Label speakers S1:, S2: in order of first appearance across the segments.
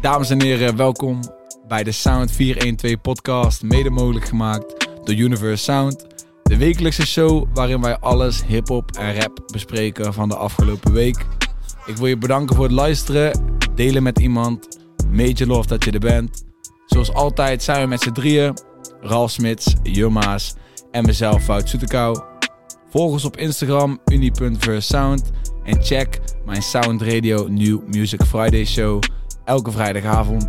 S1: Dames en heren, welkom bij de Sound 412 podcast, mede mogelijk gemaakt door Universe Sound. De wekelijkse show waarin wij alles hip-hop en rap bespreken van de afgelopen week. Ik wil je bedanken voor het luisteren, delen met iemand. Major love dat je er bent. Zoals altijd zijn we met z'n drieën, Ralf Smits, Jumma's en mezelf Fout Soetekau. Volg ons op Instagram, uni.versound. En check mijn Sound Radio New Music Friday show elke vrijdagavond.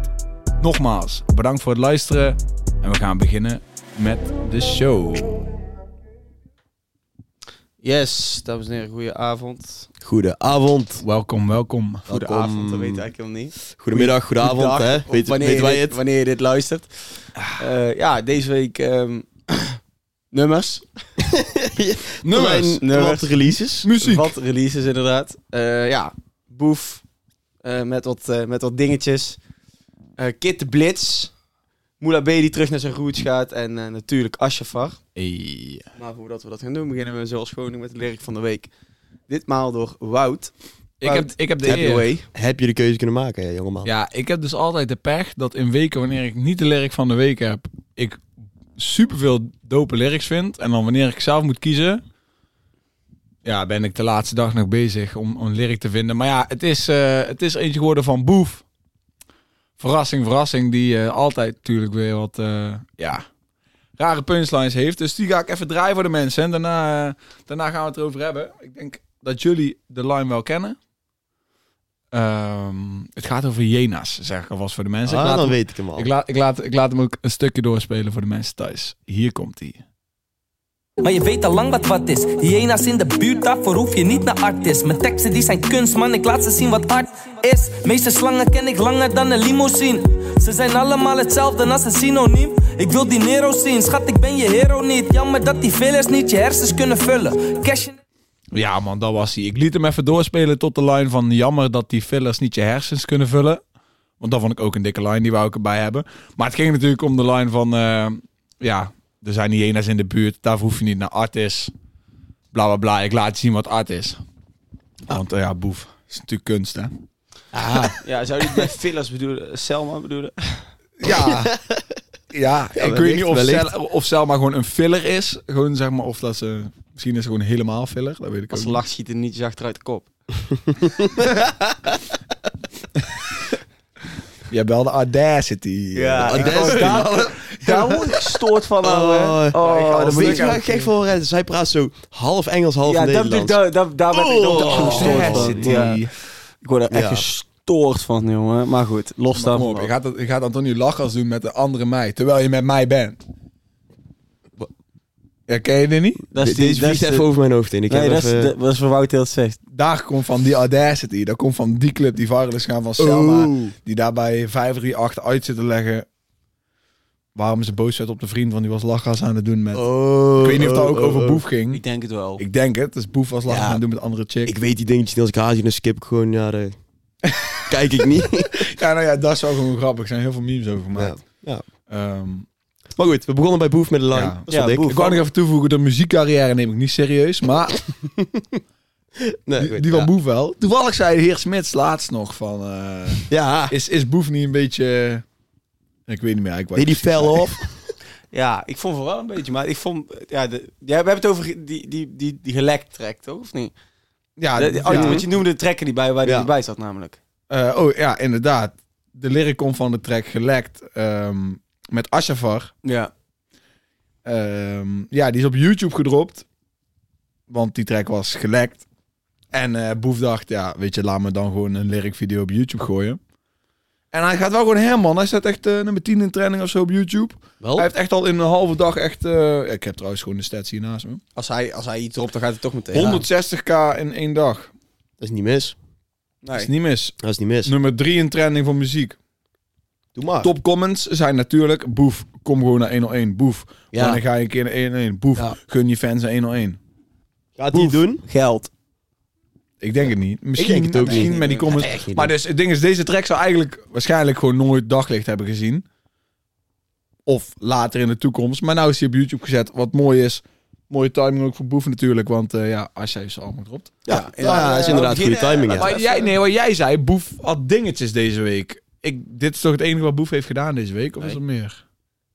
S1: Nogmaals, bedankt voor het luisteren. En we gaan beginnen met de show.
S2: Yes, dames en heren, goede avond.
S3: Goedenavond.
S1: Welkom, welkom.
S3: Welkom.
S2: avond, dat weet ik eigenlijk helemaal niet.
S3: Goedemiddag, goedenavond.
S2: Goedendag,
S3: Hè?
S2: of
S3: Weet,
S2: wanneer,
S3: weten wij
S2: je dit-
S3: het? Ah.
S2: wanneer je dit luistert. Eh, ja, deze week ehm, nummers.
S3: Terwijl- terwijl
S2: nummers.
S3: de releases.
S1: muziek.
S2: Wat releases inderdaad. Eh, ja, Boef eh, met, wat, eh, met wat dingetjes. Eh, Kid de Blitz. Moula B die terug naar zijn roots gaat. En eh, natuurlijk Ashafar.
S1: Hey.
S2: Maar voordat we dat gaan doen, beginnen we zoals gewoonlijk met de lyric van de week. Ditmaal door Wout.
S1: Ik, heb, ik heb de
S2: Happy
S1: eer.
S2: Way.
S3: Heb je de keuze kunnen maken, hè, jongeman?
S1: Ja, ik heb dus altijd de pech dat in weken wanneer ik niet de lyric van de week heb, ik superveel dope lyrics vind. En dan wanneer ik zelf moet kiezen, ja, ben ik de laatste dag nog bezig om, om een lyric te vinden. Maar ja, het is, eh, het is eentje geworden van Boef. Verrassing, verrassing, die eh, altijd natuurlijk weer wat eh, ja, rare punchlines heeft. Dus die ga ik even draaien voor de mensen. En daarna, eh, daarna gaan we het erover hebben. Ik denk dat jullie de line wel kennen. Ehm, het gaat over Jena's, zeg ik alvast voor de mensen.
S3: Ah,
S1: ik, laat
S3: dan
S1: hem,
S3: weet ik hem al.
S1: ik, laat, ik, laat, ik laat hem ook een stukje doorspelen voor de mensen thuis. Hier komt hij.
S4: Maar je weet al lang wat wat is. Hyena's in de buurt, daarvoor hoef je niet naar artis. Mijn teksten die zijn kunst, man, ik laat ze zien wat art is. Meeste slangen ken ik langer dan een limousine. Ze zijn allemaal hetzelfde als een synoniem. Ik wil die Nero zien, schat, ik ben je hero niet. Jammer dat die fillers niet je hersens kunnen vullen. Cash in-
S1: Ja man, dat was hij. Ik liet hem even doorspelen tot de line van jammer dat die fillers niet je hersens kunnen vullen. Want dat vond ik ook een dikke line, die wou ik erbij hebben. Maar het ging natuurlijk om de line van, eh, ja, er zijn hyena's in de buurt, daarvoor hoef je niet naar artis. Bla bla bla, ik laat je zien wat art is. Want eh, ja, boef, is natuurlijk kunst hè.
S2: Ja, zou je dit bij fillers bedoelen? eh, Selma bedoelen?
S1: Ja. ja, ik weet
S3: wellicht,
S1: niet of,
S3: wellicht.
S1: Sel, of Selma gewoon een filler is. Gewoon zeg maar, of dat ze... Misschien is ze gewoon helemaal filler, dat weet ik
S2: Als
S1: ook
S2: ze
S1: niet.
S2: lacht schiet er niet achteruit de kop.
S1: Jij belde Audacity.
S3: Ah,
S2: ik
S3: dat
S2: word
S3: is-
S2: daar, daar word ik gestoord van.
S3: Oh,
S2: ouwe.
S3: oh,
S2: Oh,
S3: daar
S2: dat
S3: moet
S2: moet
S3: je wel gek voor worden. Zij praat zo half Engels, half
S2: Ja, dat, dat,
S3: Nederlands.
S2: dat, dat, daar werd ik ook
S3: Oh,
S2: echt gestoord van.
S3: audacity.
S2: Ja. Ik word er echt
S3: Ja.
S2: gestoord van, jongen. Maar goed, los
S1: Kom
S2: daarvan.
S1: op, je gaat, dat- je gaat Antonio Lachas doen met de andere meid, terwijl je met mij bent. Ja, ken je dit niet?
S2: Dat
S3: De- Deze vliegt
S2: de-
S3: even over mijn hoofd in. Ik
S2: Nee,
S3: heb
S2: dat is,
S3: even...
S2: de- dat is wat Wout heel zegt.
S1: Daar komt van die Audacity. Dat komt van die clip, die virals gaan van
S3: Oh.
S1: Selma. Die daarbij 538 uit zit te leggen. Waarom ze boos werd op de vriend, want die was lachgas aan het doen met...
S3: Oh,
S1: ik weet niet of dat
S3: oh,
S1: ook
S3: oh,
S1: over
S3: oh.
S1: Boef ging.
S2: Ik denk het wel.
S1: Ik denk het. Dus Boef was lachgas
S3: Ja.
S1: aan het doen met andere chick.
S3: Ik weet die dingetjes niet. Als ik haal, dan skip ik gewoon naar... eh, Kijk ik niet.
S1: Ja, nou ja, dat zou gewoon grappig. Er zijn heel veel memes over
S3: ja.
S1: gemaakt.
S3: Ja.
S1: Ehm,
S3: Maar goed, we begonnen bij Boef met de line.
S1: Ja.
S3: Dat is wel
S2: Ja,
S3: dik.
S2: Boef.
S1: ik wou nog even toevoegen, de muziekcarrière neem ik niet serieus, maar...
S3: Nee,
S1: Die,
S3: goed,
S1: die van
S3: ja.
S1: Boef wel. Toevallig zei de heer Smits laatst nog van... eh,
S3: Ja.
S1: is, is Boef niet een beetje... eh, Ik weet niet meer. eigenlijk wat
S3: Deed die
S1: ik precies
S3: fell
S1: zei.
S3: off?
S2: Ja, ik vond het wel een beetje. Maar ik vond... eh, Ja, de, ja, we hebben het over die, die, die, die gelekt track, toch? Of niet?
S1: Ja,
S2: De- oh,
S1: ja.
S2: Want je noemde de track er niet bij, waar die
S3: Ja.
S2: niet bij zat namelijk.
S1: Eh, oh ja, inderdaad. De lyric komt van de track Gelekt ehm, met Ashafar.
S2: Ja.
S1: Ehm, ja, die is op YouTube gedropt. Want die track was gelekt. En eh, Boef dacht, ja, weet je, laat me dan gewoon een lyric video op YouTube gooien. En hij gaat wel gewoon hem, man. Hij staat echt eh, nummer 10 in training of zo op YouTube.
S3: Wel?
S1: Hij heeft echt al in een halve dag echt... eh, ik heb trouwens gewoon de stats hier naast me.
S2: Als hij, als hij iets erop, dan gaat het toch meteen.
S1: 160k in één dag.
S3: Dat is niet mis.
S1: Dat is
S2: Nee.
S1: niet mis.
S3: Dat is niet mis.
S1: Nummer 3 in trending voor muziek.
S3: Doe maar.
S1: Top comments zijn natuurlijk... Boef, kom gewoon naar 101. Boef,
S3: Ja.
S1: wanneer ga je een keer naar 101? Boef,
S3: Ja.
S1: gun je fans naar 101.
S3: Gaat hij het
S2: Boef.
S3: doen?
S2: Geld.
S1: Ik denk het niet. Misschien,
S3: denk het ook
S1: misschien
S3: niet.
S1: met die comments.
S3: Echt niet
S1: maar dus, het ding is, deze track zou eigenlijk waarschijnlijk gewoon nooit daglicht hebben gezien. Of later in de toekomst. Maar nou is hij op YouTube gezet, wat mooi is. Mooie timing ook voor Boef natuurlijk, want eh, ja, als jij ze allemaal dropt.
S3: Ja, ja, dat is
S2: eh,
S3: inderdaad
S2: beginnen,
S3: goede timing,
S2: eh,
S3: ja.
S2: maar
S1: Maar jij, nee, wat jij zei, Boef had dingetjes deze week. ik, dit is toch het enige wat Boef heeft gedaan deze week? Of is
S2: Nee.
S1: er meer?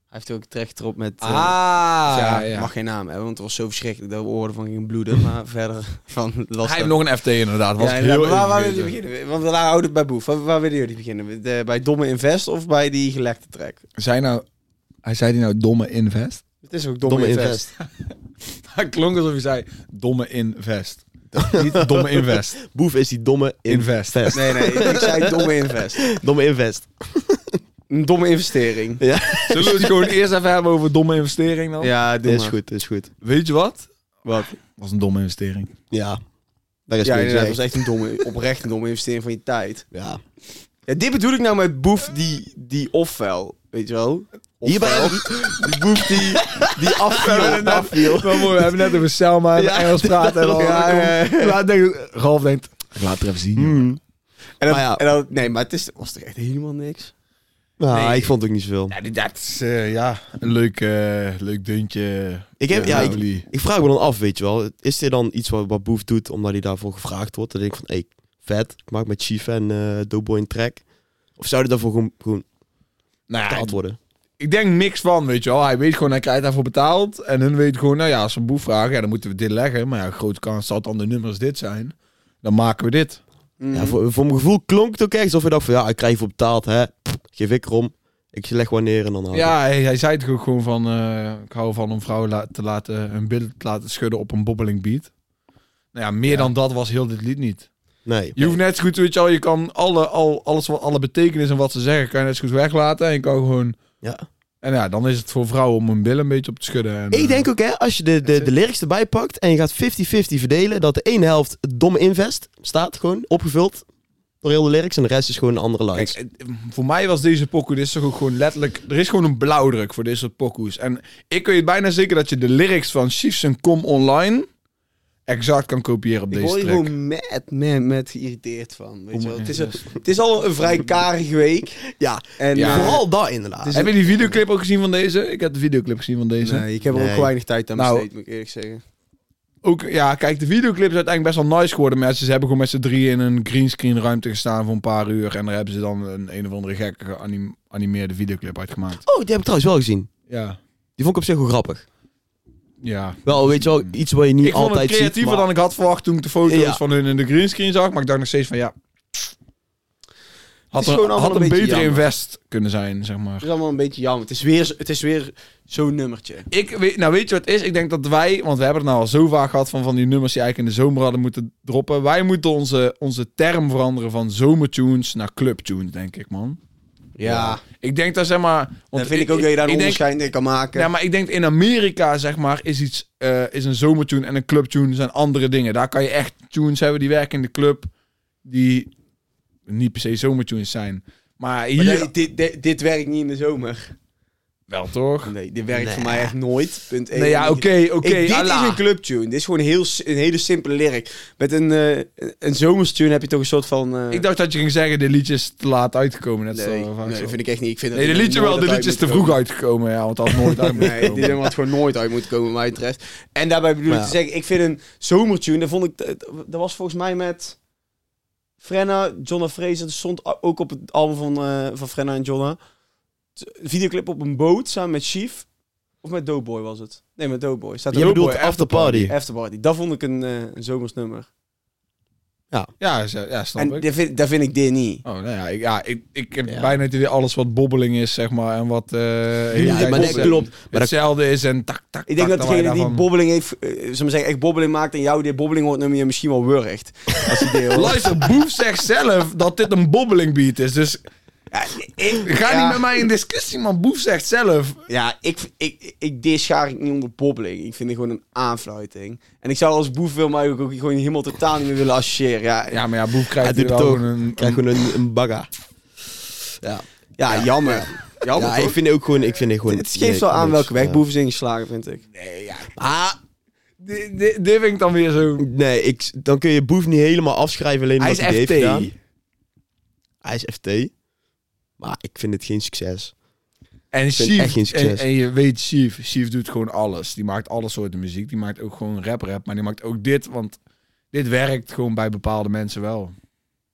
S2: Hij heeft ook terecht erop met... eh,
S1: ja,
S2: ja, mag geen naam hebben, want het was zo verschrikkelijk dat we oren van gingen bloeden. Maar verder van last.
S1: Hij heeft nog een FT inderdaad. Was
S2: Ja,
S1: ik
S2: inderdaad,
S1: heel
S2: maar waar, waar
S1: even
S2: willen jullie
S1: vergeten.
S2: beginnen? Want we houden het bij Boef. Waar, waar willen jullie beginnen? De- bij Domme Invest of bij die gelekte track?
S1: Zijn nou, hij zei die nou domme invest?
S2: Het is ook Domme,
S3: Domme
S2: Invest.
S3: invest.
S1: Hij klonk alsof hij zei domme invest. Niet domme invest.
S3: Boef is die domme
S1: Invest.
S3: invest.
S2: Nee, nee, ik zei Domme Invest.
S3: Domme invest.
S2: Een domme investering.
S1: Zullen we het gewoon eerst even hebben over domme investering dan?
S2: Ja, doe
S3: Dit is
S2: maar.
S3: goed, dit is goed.
S1: Weet je wat?
S3: Wat?
S1: was een domme investering.
S3: Ja. Dat is
S2: Ja,
S3: goed
S2: inderdaad,
S3: gezegd.
S2: dat was echt een domme, oprecht een domme investering van je tijd.
S3: Ja.
S2: Ja, dit bedoel ik nou met Boef die, die ofwel, weet je wel?
S3: Hierbij
S2: Ofwel. die Boef die, die afviel. afviel.
S1: Wel mooi, we hebben net over Selma en
S3: Ja,
S1: Engels praten. En
S3: dat
S1: al.
S3: was-
S1: Ja,
S2: ja, ja.
S1: Laat denk- Ralf denkt, ik laat het even zien. joh.
S3: Hmm.
S2: En dat,
S3: Maar ja.
S2: en dat- nee, maar het is, was toch echt helemaal niks?
S3: Nou,
S1: Nee.
S3: ik vond het ook niet zoveel.
S1: Ja, dit- dat is eh, ja, een leuk, eh, leuk deuntje. eh,
S3: Ik, heb, ja, ik,
S1: Rowley.
S3: ik vraag me dan af, weet je wel. Is dit dan iets wat, wat Boef doet omdat hij daarvoor gevraagd wordt? Dan denk ik van, hey, vet. Ik maak met Chief en eh Doughboy een track. Of zou dit daarvoor gewoon, gewoon
S1: nou, ja,
S3: betaald worden?
S1: ik denk niks van, weet je wel. Hij weet gewoon, hij krijgt daarvoor betaald. En hun weten gewoon, nou ja, als ze een boef vragen, ja, dan moeten we dit leggen. Maar ja, grote kans dat dan de nummers dit zijn. Dan maken we dit. Mhm.
S3: Ja, voor, voor mijn gevoel klonk het ook echt alsof je dacht van, ja, ik krijg voor betaald, hè. Pff, Geef ik erom. Ik leg wanneer en dan hou ik.
S1: Ja, hij, hij zei het ook gewoon van... eh, ik hou van om vrouwen la- te laten... hun billen te laten schudden op een bobbeling beat. Nou ja, meer dan dat was heel dit lied niet.
S3: Nee.
S1: Je hoeft net zo goed, weet je wel... je kan alle, al, alles wat alle betekenis en wat ze zeggen... kan je net zo goed weglaten en je kan gewoon...
S3: Ja.
S1: En ja, dan is het voor vrouwen om hun billen een beetje op te schudden. En, eh,
S3: Ik denk ook, hè, als je de, de, de lyrics erbij pakt en je gaat 50-50 verdelen, dat de ene helft domme invest staat, gewoon opgevuld door heel de lyrics, en de rest is gewoon een andere
S1: Kijk,
S3: lines.
S1: eh, voor mij was deze pokoe, dit is toch ook gewoon letterlijk... Er is gewoon een blauwdruk voor dit soort pokoes. En ik weet bijna zeker dat je de lyrics van Chiefs en Kom Online... exact kan kopiëren op
S2: Ik
S1: deze
S2: word hier
S1: track.
S2: gewoon mad, mad, mad geïrriteerd van. Weet je wel.
S1: maar
S2: Het, is
S1: eens.
S2: een- het is al een vrij karige week.
S3: Ja,
S2: En,
S1: Ja.
S2: eh,
S3: vooral dat inderdaad.
S2: Dus-
S1: Heb je die videoclip ook gezien van deze? Ik heb de videoclip gezien van deze.
S2: nee, ik heb er
S3: Nee.
S2: ook weinig tijd aan
S1: Nou,
S2: besteed, moet ik eerlijk zeggen.
S1: Ook, ja, kijk, de videoclip is uiteindelijk best wel nice geworden. Mensen ze hebben gewoon met z'n drieën in een greenscreen ruimte gestaan voor een paar uur. En daar hebben ze dan een een of andere gekke geanimeerde videoclip uitgemaakt.
S3: Oh, die heb ik trouwens wel gezien.
S1: Ja.
S3: Die vond ik op zich wel grappig.
S1: Ja.
S3: Wel, weet je wel, iets wat je niet
S1: Mm. Ik vond het
S3: altijd
S1: creatiever
S3: ziet. maar-
S1: dan ik had verwacht toen ik de foto's
S3: Ja.
S1: van hun in de greenscreen zag. Maar ik dacht nog steeds van ja... Had,
S2: gewoon
S1: een,
S2: allemaal
S1: had
S2: een
S1: een
S2: beetje
S1: betere
S2: jammer.
S1: invest kunnen zijn, zeg maar.
S2: Het is allemaal een beetje jammer. Het is weer, het is weer zo'n nummertje.
S1: Ik weet, nou weet je wat het is? Ik denk dat wij, want we hebben het nou al zo vaak gehad van, van die nummers die eigenlijk in de zomer hadden moeten droppen. Wij moeten onze, onze term veranderen van zomertunes naar clubtunes, denk ik, man.
S2: Ja,
S1: Ik denk dat zeg maar.
S2: dan vind ik ook dat je daar een
S1: ik denk,
S2: onderscheid in kan maken.
S1: Ja, maar ik denk in Amerika, zeg maar, is iets eh, is een zomertune en een clubtune zijn andere dingen. Daar kan je echt tunes hebben die werken in de club, die niet per se zomertunes zijn. Maar hier
S2: Maar dat- dit, dit, dit werkt niet in de zomer.
S1: wel toch?
S2: Nee, dit werkt
S3: Nee.
S2: voor mij echt nooit. Punt één.
S1: Nee, ja,
S2: Ik-
S1: oké, oké.
S2: ik, dit
S1: Allah.
S2: is een clubtune. Dit is gewoon een, heel, si- een hele simpele lyric. Met een, eh een zomerstune heb je toch een soort van... eh,
S1: Ik dacht dat je ging zeggen, dit liedje is te laat uitgekomen. Net
S2: nee,
S1: zo, vaak
S2: nee,
S1: zo.
S2: dat vind ik echt niet. Ik vind dat
S1: Nee, de
S2: dit
S1: liedje
S2: nooit
S1: wel. De
S2: uit
S1: liedje is
S2: moet
S1: te
S2: komen.
S1: vroeg uitgekomen. Ja, want het had nooit uit moeten
S2: Nee, dit
S1: komen.
S2: nummer had gewoon nooit uit moeten komen, wat mij betreft. En daarbij bedoel ik
S3: Maar
S2: te
S3: ja.
S2: zeggen, ik vind een zomertune, dat vond ik, dat was volgens mij met Frenna, Jonna Fraser, dat stond ook op het album van, eh, van Frenna en Jonna. T- Videoclip op een boot, samen met Chief. Of met Doughboy was het? Nee, met Doughboy. Staat
S3: Je
S2: er ook
S3: bedoelt
S1: Boy,
S3: After Party.
S2: Afterparty. Dat vond ik een, eh, een zomers nummer.
S1: Ja, z- ja, snap
S2: En
S1: ik.
S2: daar vind, daar vind ik dit niet.
S1: Oh, nou ja, ik, ja, ik, ik heb
S3: Ja.
S1: bijna het idee alles wat bobbeling is, zeg maar. En wat eh
S3: Ja,
S1: hele
S3: maar
S1: tijd
S3: dat
S1: bobbelen.
S3: klopt. Maar dat,
S1: hetzelfde is en tak, tak,
S2: Ik denk
S1: tak,
S2: dat
S1: terwijl
S2: degene die
S1: daarvan-
S2: bobbeling heeft, eh, zullen we zeggen, echt bobbeling maakt en jou die bobbeling hoort, nummer je misschien wel wurgt. Als je dit hoort.
S1: Luister, Boef zegt zelf dat dit een bobbeling beat is. Dus
S2: Ja,
S1: ga
S2: Ja.
S1: niet met mij in discussie, man. Boef zegt zelf.
S2: Ja, ik, ik, ik, dit schaar ik niet onder bobbeling. Ik vind het gewoon een aanfluiting. En ik zou als boef wil mij ook, ook gewoon helemaal totaal niet meer willen associëren. Ja, ja,
S1: Ja, maar ja, Boef
S3: ja,
S1: krijgt
S3: dit
S1: hier wel
S3: toch.
S1: gewoon een...
S3: krijg gewoon een, een bagga. Ja.
S2: jammer. Jammer
S3: Ja,
S2: toch?
S3: ik vind het ook gewoon... Ik vind het, gewoon
S2: Het geeft
S3: nee,
S2: wel aan
S3: niks.
S2: welke weg
S3: Ja.
S2: boeven zijn geslagen, vind ik.
S1: Nee, ja.
S3: Ah,
S1: Dit, dit, dit vind ik dan weer zo...
S3: nee, ik, dan kun je Boef niet helemaal afschrijven alleen
S1: Hij
S3: omdat
S1: is
S3: hij dit heeft
S1: FT.
S3: gedaan. Hij is FT. Maar ik vind het geen succes.
S1: En
S3: vind echt geen
S1: Chief, en,
S3: succes.
S1: en je weet Chief, Chief doet gewoon alles. Die maakt alle soorten muziek. Die maakt ook gewoon rap-rap, maar die maakt ook dit, want dit werkt gewoon bij bepaalde mensen wel.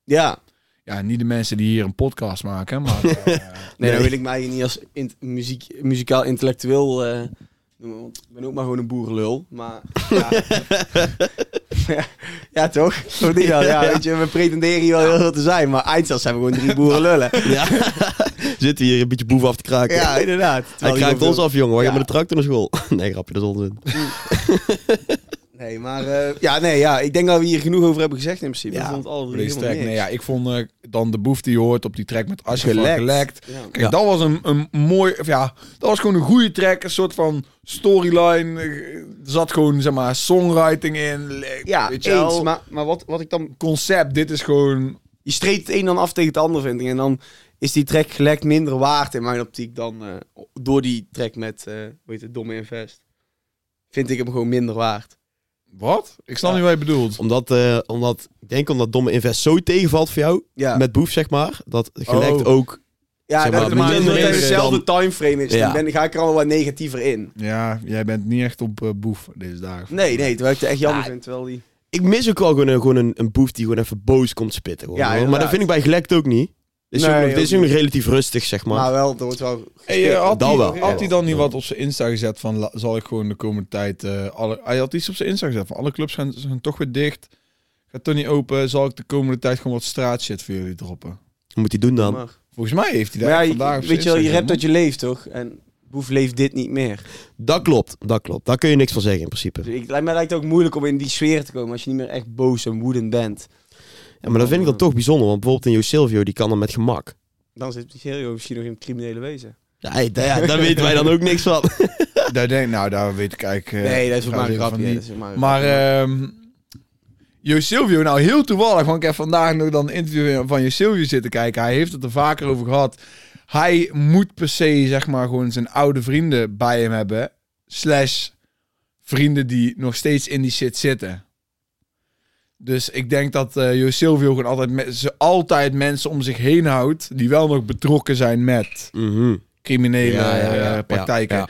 S2: Ja.
S1: Ja, niet de mensen die hier een podcast maken, maar... eh,
S2: Nee,
S3: Nee.
S2: dan wil ik mij niet als int- muziek, muzikaal intellectueel eh, noemen. Want ik ben ook maar gewoon een boerenlul. Maar ja, ja, ja, toch? Of niet dan? Ja, Weet je, we pretenderen hier wel heel veel te zijn. Maar eindstand zijn we gewoon drie boerenlullen.
S3: Ja. Zitten hier een beetje boef af te kraken.
S2: Ja, inderdaad.
S3: Hij
S2: Terwijl hier
S3: kraakt
S2: heel
S3: ons
S2: veel-
S3: af, jongen. Wij gaan
S2: Ja.
S3: met de tractor naar school. Nee, grapje, dat is onzin.
S2: Nee, maar eh, ja, nee, ja, ik denk dat we hier genoeg over hebben gezegd in principe.
S1: Ja,
S2: Ja, vond alle drie
S1: Deze
S2: helemaal
S1: track, nee, ja,
S2: niks.
S1: ik vond eh, dan de boef die je hoort op die track met Asje gelekt.
S2: Gelekt.
S1: gelekt.
S2: Ja.
S1: Kijk, dat was een, een mooi, of ja, dat was gewoon een goede track. Een soort van storyline. eh, Er zat gewoon, zeg maar, songwriting in. le-
S2: Ja,
S1: weet je wel.
S2: eens. Maar, maar wat, wat ik dan
S1: Concept, dit is gewoon...
S2: je streedt het een dan af tegen het ander, vind ik. En dan is die track gelijk minder waard in mijn optiek dan eh, door die track met, eh hoe heet het, Domme Invest. Vind ik hem gewoon minder waard.
S1: Wat? Ik snap
S2: Ja.
S1: niet wat je bedoelt.
S3: Omdat, eh, omdat, ik denk omdat domme invest zo tegenvalt voor jou,
S2: Ja,
S3: met boef zeg maar, dat gelekt
S1: Oh.
S3: ook...
S2: ja
S3: zeg
S2: dat
S3: maar,
S2: het maar
S3: minder
S2: omdat het
S3: is
S2: dezelfde timeframe is,
S3: Ja.
S2: dan ben, ga ik er al wat negatiever in.
S1: Ja, jij bent niet echt op eh, boef deze dagen.
S2: Nee, nee, terwijl ik het echt jammer
S3: Ja.
S2: vind. Terwijl die...
S3: Ik mis ook wel gewoon, een, gewoon een, een boef die gewoon even boos komt spitten. Gewoon,
S2: Ja,
S3: hoor. maar dat
S2: inderdaad.
S3: vind ik bij gelekt ook niet. Dit is,
S2: Nee,
S3: ook, nog- dit is
S2: ook
S3: ook nog relatief rustig, zeg maar.
S2: Maar wel, er wordt wel...
S1: Hey, eh, had
S3: Dat
S1: hij-
S3: wel.
S1: Had hij dan niet
S3: Ja.
S1: wat op zijn Insta gezet van... la- zal ik gewoon de komende tijd... eh, alle, hij had iets op zijn Insta gezet van... alle clubs gaan, zijn toch weer dicht. Gaat toch niet open. Zal ik de komende tijd gewoon wat straatshit voor jullie droppen?
S3: Wat moet hij doen dan?
S2: Maar,
S1: Volgens mij heeft hij dat
S2: maar
S1: vandaag
S2: ja,
S1: op zijn
S2: weet je wel, je
S1: Insta
S2: hebt dat
S1: gezet,
S2: je leeft, toch? En Boef leeft dit niet meer.
S3: Dat klopt, dat klopt. Daar kun je niks van zeggen in principe.
S2: Dus ik, mij lijkt het ook moeilijk om in die sfeer te komen als je niet meer echt boos en woedend bent.
S3: Ja, maar dat vind ik dan toch bijzonder, want bijvoorbeeld een Jo Silvio, die kan dan met gemak.
S2: Dan zit Sergio misschien nog in het criminele wezen.
S3: Ja, hey, da- ja, daar weten wij dan ook niks van.
S1: man. Daar denk, nou, daar weet ik eigenlijk... eh,
S2: Nee, dat is ook
S1: ga
S2: maar een
S1: zeggen van
S2: grapje.
S1: niet.
S2: dat is ook maar een
S1: Maar
S2: grapje.
S1: ehm Jo Silvio, nou heel toevallig, want ik heb vandaag nog dan een interview van Jo Silvio zitten kijken. Hij heeft het er vaker over gehad. Hij moet per se, zeg maar, gewoon zijn oude vrienden bij hem hebben. Slash vrienden die nog steeds in die shit zitten. Dus ik denk dat eh Jo Silvio gewoon altijd, me- ze altijd mensen om zich heen houdt die wel nog betrokken zijn met
S3: Mhm.
S1: criminele
S3: Ja, ja, ja,
S1: eh,
S3: ja,
S1: praktijken.
S3: ja.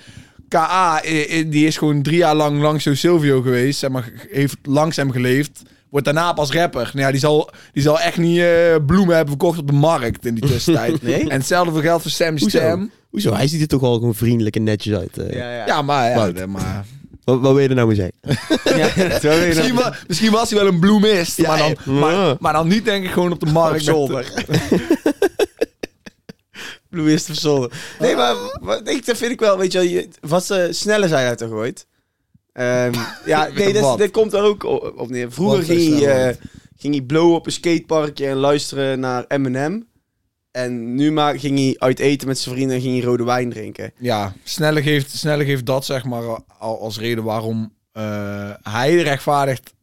S1: KA, eh, eh, die is gewoon drie jaar lang langs Jo Silvio geweest. Zeg maar, ge- heeft langzaam geleefd. Wordt daarna pas rapper. Nou ja, die zal, die zal echt niet eh, bloemen hebben verkocht op de markt in die tussentijd.
S2: Nee?
S1: En hetzelfde voor geld voor Sam
S3: Hoezo?
S1: Stem.
S3: Hoezo? Hij ziet er toch al gewoon vriendelijk en netjes uit. eh.
S2: ja, ja.
S1: Ja, maar... Ja,
S3: Wout.
S1: nee, maar
S3: Wat, wat wil je er nou mee zeggen?
S2: Ja, zo weet je
S1: misschien,
S2: dat.
S1: wa- misschien was hij wel een bloemist. maar, dan,
S3: ja.
S1: maar, maar dan niet denk ik gewoon op de markt. met-
S2: Bloemist of zolder. Nee, maar wat, ik, dat vind ik wel, weet je wel, je, wat eh sneller zijn uit toch ooit? Ehm, ja, nee, dat, is-
S1: Wat?
S2: dat komt er ook o- op neer. Vroeger
S1: Wat
S2: ging
S1: is
S2: hij,
S1: sneller
S2: eh, ging hij blowen op een skateparkje en luisteren naar Eminem. En nu maar ging hij uit eten met zijn vrienden en ging hij rode wijn drinken.
S1: Ja, sneller geeft, sneller geeft dat zeg maar al als reden waarom eh, hij rechtvaardigt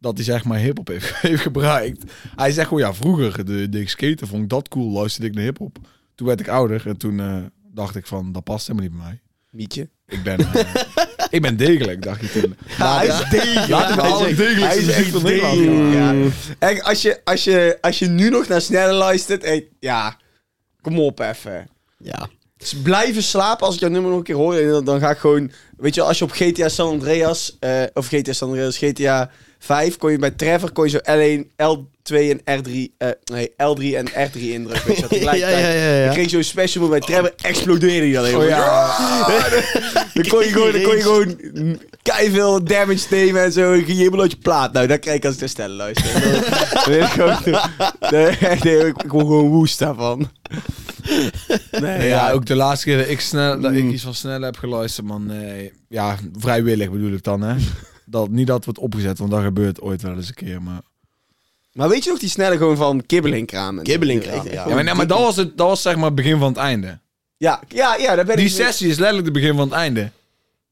S1: dat hij zeg maar hip-hop heeft, heeft gebruikt. Hij zegt gewoon ja, vroeger de, de skaten vond ik dat cool, luisterde ik naar hip-hop. Toen werd ik ouder en toen eh, dacht ik van dat past helemaal niet bij mij.
S2: Mietje.
S1: Ik ben, eh, ik ben degelijk, dacht ik toen.
S2: hij is degelijk.
S1: Laten we
S2: Hij is
S1: alle
S2: echt-
S1: degelijkste
S2: hij is
S1: muziek
S2: echt
S1: van Nederland
S2: degelijk,
S1: gaan
S2: ja. En als je, als, je, als je nu nog naar sneller luistert, eh, ja, kom op even.
S3: Ja.
S2: Dus blijven slapen als ik jouw nummer nog een keer hoor. en Dan, dan ga ik gewoon, weet je, wel, als je op GTA San Andreas, eh, of GTA San Andreas, GTA 5, kon je bij Trevor, kon je zo L1, L2 en R3, eh, nee, L3 en R3 indrukken. Weet je, wel,
S3: Ja, ja,
S2: tegelijkertijd.
S3: ja, ja,
S2: Ik
S3: ja.
S2: kreeg zo'n special move bij Trevor, explodeerde die alleen.
S1: Oh
S2: maar.
S1: ja,
S2: Dan kon je gewoon, dan kon je gewoon veel damage nemen en zo. Ik ging helemaal uit je plaat. Nou, dat krijg ik als ik naar stellen luister. Dat weet ik gewoon. Nee, echt, nee, ik ik word gewoon woest daarvan.
S1: Nee,
S2: Nee,
S1: ja,
S2: ja.
S1: ook de laatste keer dat ik, snel, dat ik iets van snel heb geluisterd, man. nee. ja, vrijwillig bedoel ik dan, hè. Dat, niet dat wordt opgezet, want dat gebeurt ooit wel eens een keer, maar...
S2: Maar weet je nog die snelle gewoon van kibbeling kramen?
S3: Kibbeling kreeg hij, ja.
S1: Ja, maar, nou nee, maar dat, was het, dat was zeg maar het begin van het einde.
S2: Ja, ja, ja, daar ben
S1: Die
S2: ik...
S1: sessie is letterlijk het begin van het einde.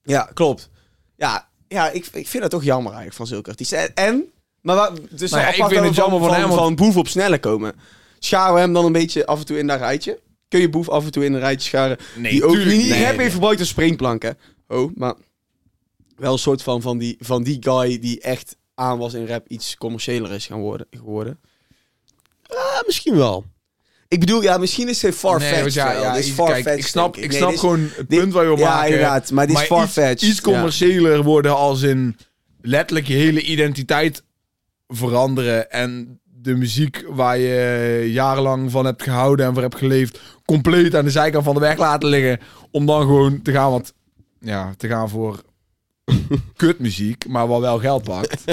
S2: Ja, klopt. Ja, ja ik, ik vind dat toch jammer eigenlijk van zulke artiesten. En- En, maar waar, dus
S1: Nou ja,
S2: apart
S1: ik vind
S2: dat we
S1: het jammer van hem,
S2: Van,
S1: want-
S2: van boef op snelle komen. Scharen we hem dan een beetje af en toe in dat rijtje? Kun je boef af en toe in een rijtje scharen?
S1: Nee,
S2: die ook die niet
S1: nee,
S2: rap
S1: nee.
S2: heeft verbruikt als springplanken. Oh, maar wel een soort van van die, van die guy die echt aan was in rap iets commerciëler is gaan worden, geworden.
S3: Ah, misschien wel.
S2: Ik bedoel, ja, misschien is het
S1: Nee,
S2: farfetched.
S1: want ja,
S2: wel.
S1: ja,
S2: Dit is
S1: ik- kijk,
S2: farfetched,
S1: ik snap,
S2: denk
S1: ik
S2: Nee,
S1: snap
S2: dit is-
S1: gewoon het
S2: dit-
S1: punt waar je op
S2: ja,
S1: maken.
S2: inderdaad, maar dit is
S1: iets-
S2: farfetched,
S1: Iets,
S2: ja.
S1: commerciëler worden als in letterlijk je hele identiteit veranderen en de muziek waar je jarenlang van hebt gehouden en voor hebt geleefd, compleet aan de zijkant van de weg laten liggen. Om dan gewoon te gaan, wat, ja, te gaan voor kutmuziek, maar wat wel geld pakt.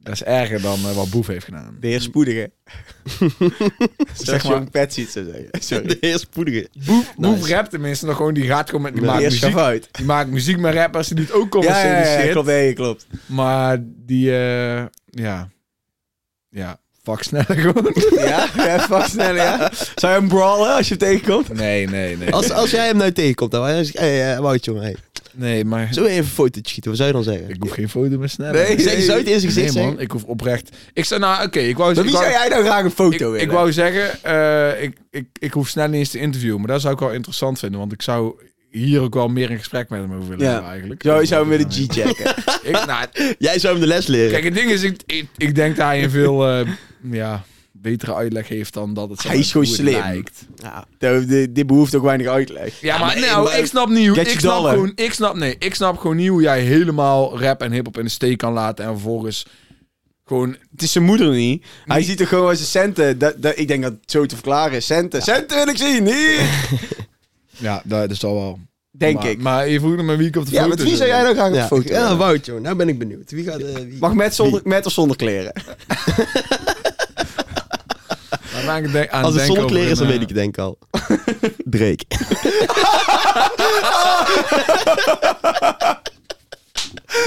S1: Dat is erger dan eh, wat Boef heeft gedaan.
S2: De heer Spoedige.
S1: Zeg
S2: zeg
S1: maar-
S2: maar. Jong Pets iets zou zeggen. Sorry.
S3: De heer Spoedige.
S1: Boef,
S3: Nice.
S1: Boef rapt tenminste nog gewoon, die gaat gewoon met, die
S3: Nee.
S2: De
S1: maakt
S2: heer
S1: muziek.
S2: Schavuit.
S1: Die maakt muziek met rappers die het ook
S2: Ja,
S1: commercieel
S2: ja, ja,
S1: shit.
S2: klopt. Nee, klopt.
S1: Maar die, eh, ja. Ja, fuck sneller gewoon.
S2: Ja, ja fuck snel, ja. Zou je hem brawlen als je hem tegenkomt?
S1: Nee, nee, nee.
S3: Als, als jij hem nou tegenkomt, dan zeg je, hey, eh, Wout, jongen, hey.
S1: Nee, maar...
S3: Zullen we even een fotootje schieten? Wat zou je dan zeggen?
S1: Ik hoef geen foto met sneller.
S2: Nee,
S3: Zeg, je zou het in zijn gezicht
S1: Nee, man,
S3: zeggen?
S1: ik hoef oprecht. Ik zou, nou, oké, ik wou
S2: Met wie
S1: ik wou-
S2: zou jij nou graag een foto
S1: ik,
S2: willen?
S1: ik wou zeggen, eh, ik, ik, ik hoef snel niet eens te interviewen. Maar dat zou ik wel interessant vinden. Want ik zou hier ook wel meer in gesprek met hem over willen
S2: Ja.
S1: hebben, eigenlijk.
S2: Zo zou hem willen G-checken.
S1: Ik- nou,
S3: Jij zou hem de les leren.
S1: Kijk, het ding is, ik, ik, ik denk dat hij een veel eh, ja, betere uitleg heeft dan dat het zo
S2: Hij is gewoon
S1: hoe het
S2: slim.
S1: lijkt.
S3: ja.
S2: Nou, Dit dit behoeft ook weinig uitleg.
S1: Ja, maar,
S3: maar-
S1: nou,
S3: maar-
S1: ik snap niet hoe...
S2: Get
S1: Ik
S2: your
S1: snap,
S2: dollar.
S1: gewoon, ik, snap, nee, ik snap gewoon niet hoe jij helemaal rap en hiphop in de steek kan laten... en vervolgens gewoon...
S2: Het is zijn moeder niet. Hij ziet er gewoon als een centen. Dat, dat, ik denk dat het zo te verklaren is. Centen. Centen wil ik zien. Hier.
S1: Ja, dat is al wel...
S2: Denk
S1: maar,
S2: ik.
S1: Maar je vroeg naar wie ik op de
S2: ja,
S1: foto
S2: met wie
S1: zit.
S2: zou jij nou graag
S3: Ja.
S2: een foto
S3: ja,
S2: willen?
S3: Wout, jongen, nou ben ik benieuwd. Wie gaat... eh, wie-
S2: Mag met, zonder, met of zonder kleren?
S1: Daar ben ik denk- aan
S3: Als het
S1: denken
S3: zonder kleren is,
S1: over
S3: dan
S1: een,
S3: weet ik het denk ik al. Drake.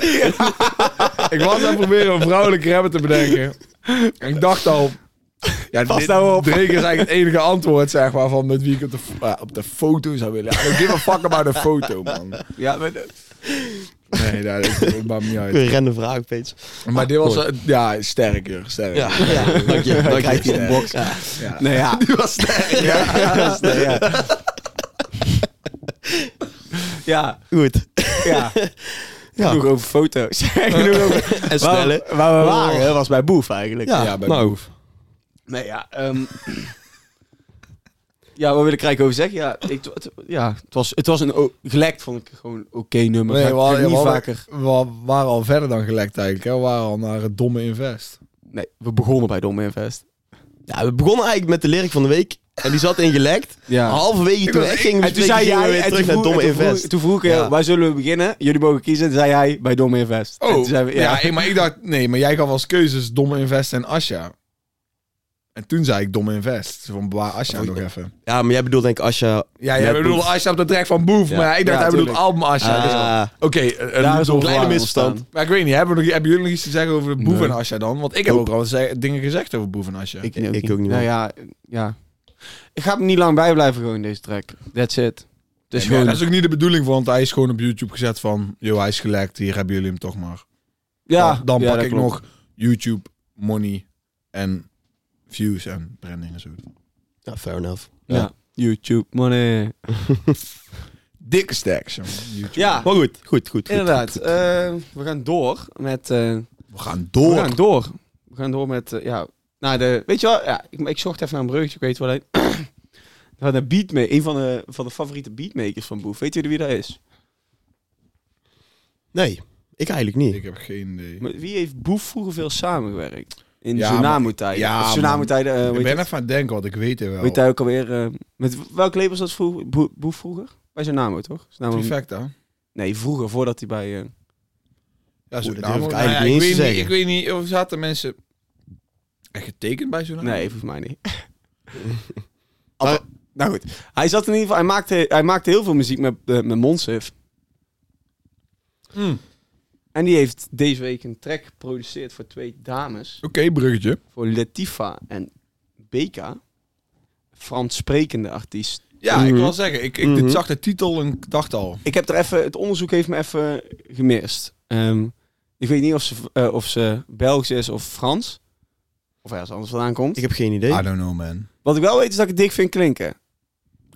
S1: eh, Ik was aan het proberen een vrouwelijke rapper te bedenken. En ik dacht al... Ja,
S2: Pas
S1: dit-
S2: nou op.
S1: Drake is eigenlijk het enige antwoord, zeg maar, van met wie ik op de, f- eh, op de foto zou willen. I don't give a fuck about de foto, man.
S2: Ja, maar-
S1: Nee, dat, dat maakt me niet uit.
S3: Een rende vraag, Peets.
S1: Maar dit was... eh, Ja, sterker, sterker.
S3: Ja, dank je. Dank
S2: krijgt hij
S3: je.
S2: een box.
S3: Ja.
S1: Ja.
S2: Nee, ja.
S3: Die was sterk.
S2: Ja. Ja. Ja.
S3: Goed.
S2: ja.
S3: Ja.
S2: Genoeg over foto's. Genoeg over...
S3: En
S2: Waar,
S3: snelle.
S2: we- waar we waren was bij Boef eigenlijk.
S3: Ja,
S1: Ja, bij
S3: nou,
S1: Boef.
S2: Nee, ja. ehm, ja, wat wil ik er eigenlijk over zeggen? Ja, ik, het, ja, het, was, het was een o- gelekt, vond ik gewoon oké nummer.
S1: Nee,
S2: Ga
S1: we,
S2: ik-
S1: waren,
S2: ga ik
S1: we,
S2: niet
S1: hadden-
S2: vaker.
S1: we waren al verder dan gelekt eigenlijk. Hè? We waren al naar het domme invest.
S2: Nee, we begonnen bij Dom Invest.
S3: Ja, we begonnen eigenlijk met de lyric van de week. En die zat in gelekt.
S2: Ja.
S3: Halverwege toen echt ging
S2: En toen zei jij,
S3: weer
S2: en
S3: terug
S2: toen
S3: naar
S2: vroeg-
S3: Domme
S2: en toen
S3: Invest.
S2: Vroeg, toen vroeg ik, eh,
S3: Ja.
S2: waar zullen we beginnen? Jullie mogen kiezen. Toen zei jij, bij Domme
S1: Oh,
S2: Invest. En toen zei we- ja.
S1: ik- maar ik dacht, nee, maar jij gaf als keuzes domme invest en Asja. En toen zei ik domme invest. Van waar Asja
S3: Oh,
S1: nog
S3: ja.
S1: even.
S3: Ja, maar jij bedoelt denk ik Asja... Ah,
S1: Ja, jij
S3: Met
S1: bedoelde
S3: Boef.
S1: Asja op de track van Boef.
S2: Ja.
S1: Maar ja, ik dacht,
S2: Ja,
S1: hij bedoelt
S2: tuurlijk.
S1: album Asja. Dus-
S3: Ah,
S1: Oké, eh, eh,
S2: Daar is een kleine
S3: kleine misverstand.
S2: misverstand.
S1: Maar ik weet niet, hebben, we nog, hebben jullie nog iets te zeggen over Boef
S3: Nee.
S1: en Asja dan? Want ik heb
S3: Nope.
S1: ook al ze- dingen gezegd over Boef en Asja.
S3: Ik ook niet
S2: Nou
S3: meer.
S2: ja, ja. Ik ga hem niet lang bijblijven gewoon deze track. That's it. Dus
S1: En ja,
S2: gewoon...
S1: dat is ook niet de bedoeling, want hij is gewoon op YouTube gezet van... Yo, hij is gelekt, hier hebben jullie hem toch maar.
S2: ja,
S1: Oh, dan, dan
S2: ja,
S1: pak
S2: dat
S1: ik
S2: klopt.
S1: nog YouTube, money en views en branding en zo.
S3: ja, fair enough.
S2: Ja. YouTube money.
S1: Dikke stacks, jongen. YouTube.
S2: Ja,
S3: Maar goed, goed, goed. goed.
S2: inderdaad. Eh, we gaan door met... eh,
S1: We gaan
S2: we
S1: door.
S2: gaan door. We gaan door met... eh, ja, naar de... Weet je wel? Ja, ik, ik zocht even naar een breugje. Ik weet wel een... We hadden een beat mee. Een van de, van de favoriete beatmakers van Boef. Weet jullie wie dat is?
S3: Nee, ik eigenlijk niet.
S1: Ik heb geen idee.
S2: Maar Wie heeft Boef vroeger veel samengewerkt? In
S1: Ja,
S2: Tsunami-tijd.
S1: maar- ja,
S2: Of Tsunami-tijd. eh, hoe
S1: ik
S2: heet
S1: ben
S2: het?
S1: even aan het denken, want ik weet het wel.
S2: Weet jij ook alweer... eh, met welk label zat vroeger, Boe- Boef vroeger? Bij zijn naam, toch? Tsunami-
S1: Trifecta.
S2: nee, vroeger, voordat hij bij... eh,
S1: Ja,
S3: Oeh, dat
S1: Suriname.
S3: durf ik
S1: Nou ja,
S3: eigenlijk niet eens te
S1: weet
S3: zeggen.
S1: Ik weet niet of zaten mensen echt getekend bij zo'n
S2: nee, volgens mij niet.
S3: Maar-
S2: nou goed. Hij zat in ieder geval... Hij maakte, hij maakte heel veel muziek met, eh, met Monsef.
S1: Hmm.
S2: En die heeft deze week een track geproduceerd voor twee dames.
S1: Oké, bruggetje.
S2: Voor Latifa en Beka. Frans sprekende artiest.
S1: Ja, ik wil zeggen, ik, ik
S3: Mhm.
S1: zag de titel en ik dacht al.
S2: Ik heb er even... Het onderzoek heeft me even gemist. Ehm, ik weet niet of ze, eh, of ze Belgisch is of Frans. Of ergens anders vandaan komt.
S3: Ik heb geen idee.
S1: I don't know, man.
S2: Wat ik wel weet is dat ik het dik vind klinken.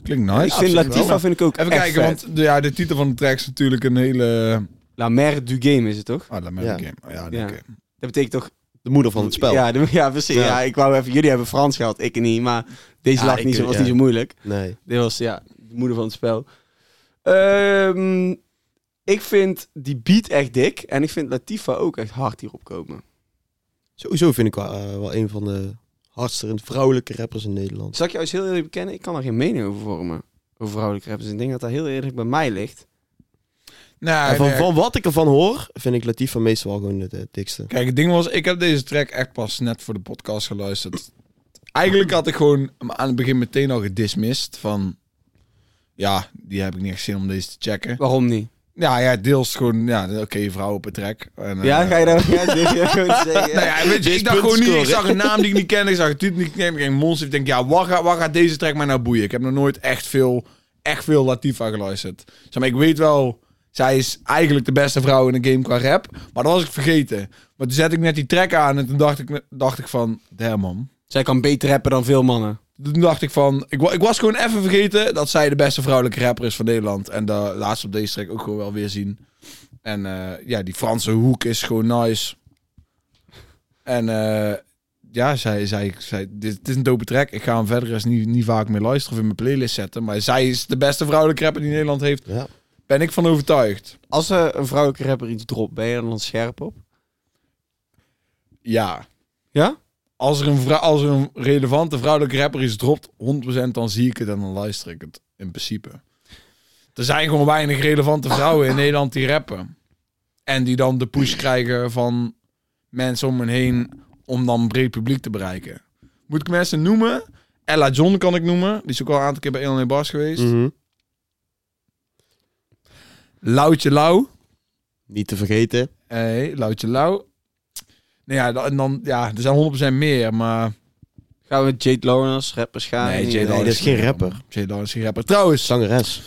S1: Klinkt nice.
S2: ik vind
S1: Absoluut wel.
S2: Latifa vind ik ook
S1: Even
S2: echt
S1: kijken,
S2: vet.
S1: want de, ja, de titel van de track is natuurlijk een hele...
S2: La Mer du Game is het toch?
S1: Ah, laat mij
S3: Ja.
S1: een game. Ja,
S2: Ja.
S1: oké.
S2: Dat betekent toch...
S3: De moeder van het spel.
S2: Ja, de- ja precies.
S3: Ja.
S2: Ja. ik wou even... Jullie hebben Frans gehad, ik niet. Maar deze
S3: Ja,
S2: lag
S3: ik- eh,
S2: niet, zo, was
S3: ja.
S2: niet zo moeilijk.
S3: Nee.
S2: Dit was, ja, de moeder van het spel. Ehm, ik vind die beat echt dik. En ik vind Latifa ook echt hard hierop komen.
S3: Sowieso vind ik wel, eh, wel een van de hardste en vrouwelijke rappers in Nederland.
S2: Zal ik jou eens heel eerlijk bekennen? Ik kan daar geen mening over vormen. Over vrouwelijke rappers. Ik denk dat dat heel eerlijk bij mij ligt.
S1: Nou,
S3: en van,
S1: nee,
S3: van wat ik ervan hoor, vind ik Latifa meestal wel gewoon het eh, dikste.
S1: Kijk, het ding was, ik heb deze track echt pas net voor de podcast geluisterd. Eigenlijk had ik gewoon hem aan het begin meteen al gedismissed van... Ja, die heb ik niet echt zin om deze te checken.
S2: Waarom niet?
S1: Ja, ja deels gewoon, ja, oké, vrouw op een track. En, eh,
S2: ja, ga je daar ja, dit wil ik gewoon zeggen.
S1: Nou ja, weet je,
S3: Deze
S1: ik dacht
S3: punten
S1: gewoon niet, ik
S3: scoren.
S1: zag een naam die ik niet kende, ik zag het titel niet kende, ik ging monster. Ik denk, ja, waar gaat, waar gaat deze track mij nou boeien? Ik heb nog nooit echt veel, echt veel Latifa geluisterd. Zeg maar, ik weet wel, zij is eigenlijk de beste vrouw in de game qua rap, maar dat was ik vergeten. Maar toen zette ik net die track aan en toen dacht ik, dacht ik van, damn man.
S2: Zij kan beter rappen dan veel mannen.
S1: Toen dacht ik van, ik, wa- ik was gewoon even vergeten dat zij de beste vrouwelijke rapper is van Nederland. En de laatste op deze track ook gewoon wel weer zien. En eh, ja, die Franse hoek is gewoon nice. En eh, ja, zij, zij, zij, dit, dit is een dope track. Ik ga hem verder eens niet, niet vaak meer luisteren of in mijn playlist zetten. Maar zij is de beste vrouwelijke rapper die Nederland heeft.
S3: Ja.
S1: Ben ik van overtuigd.
S2: Als eh, een vrouwelijke rapper iets dropt, ben je er dan scherp op?
S1: Ja.
S2: Ja?
S1: Als er een, vrou- als er een relevante vrouwelijke rapper is dropt, 100% dan zie ik het en dan luister ik het. In principe. Er zijn gewoon weinig relevante vrouwen in Nederland die rappen. En die dan de push krijgen van mensen om hen heen om dan een breed publiek te bereiken. Moet ik mensen noemen? Ella John kan ik noemen. Die is ook al een aantal keer bij 1 Bars geweest.
S3: Mhm.
S1: Loutje Lau.
S3: Niet te vergeten.
S1: Hey, Loutje Lau. Nou ja, dan, dan, ja, er zijn 100% meer, maar...
S2: Gaan we met Jade Lawrence, rappers gaan?
S1: Nee, Jade
S2: Nee.
S1: Lawrence
S3: dat is geen rapper.
S1: Jade Lawrence is geen rapper. Trouwens,
S3: Zangeres.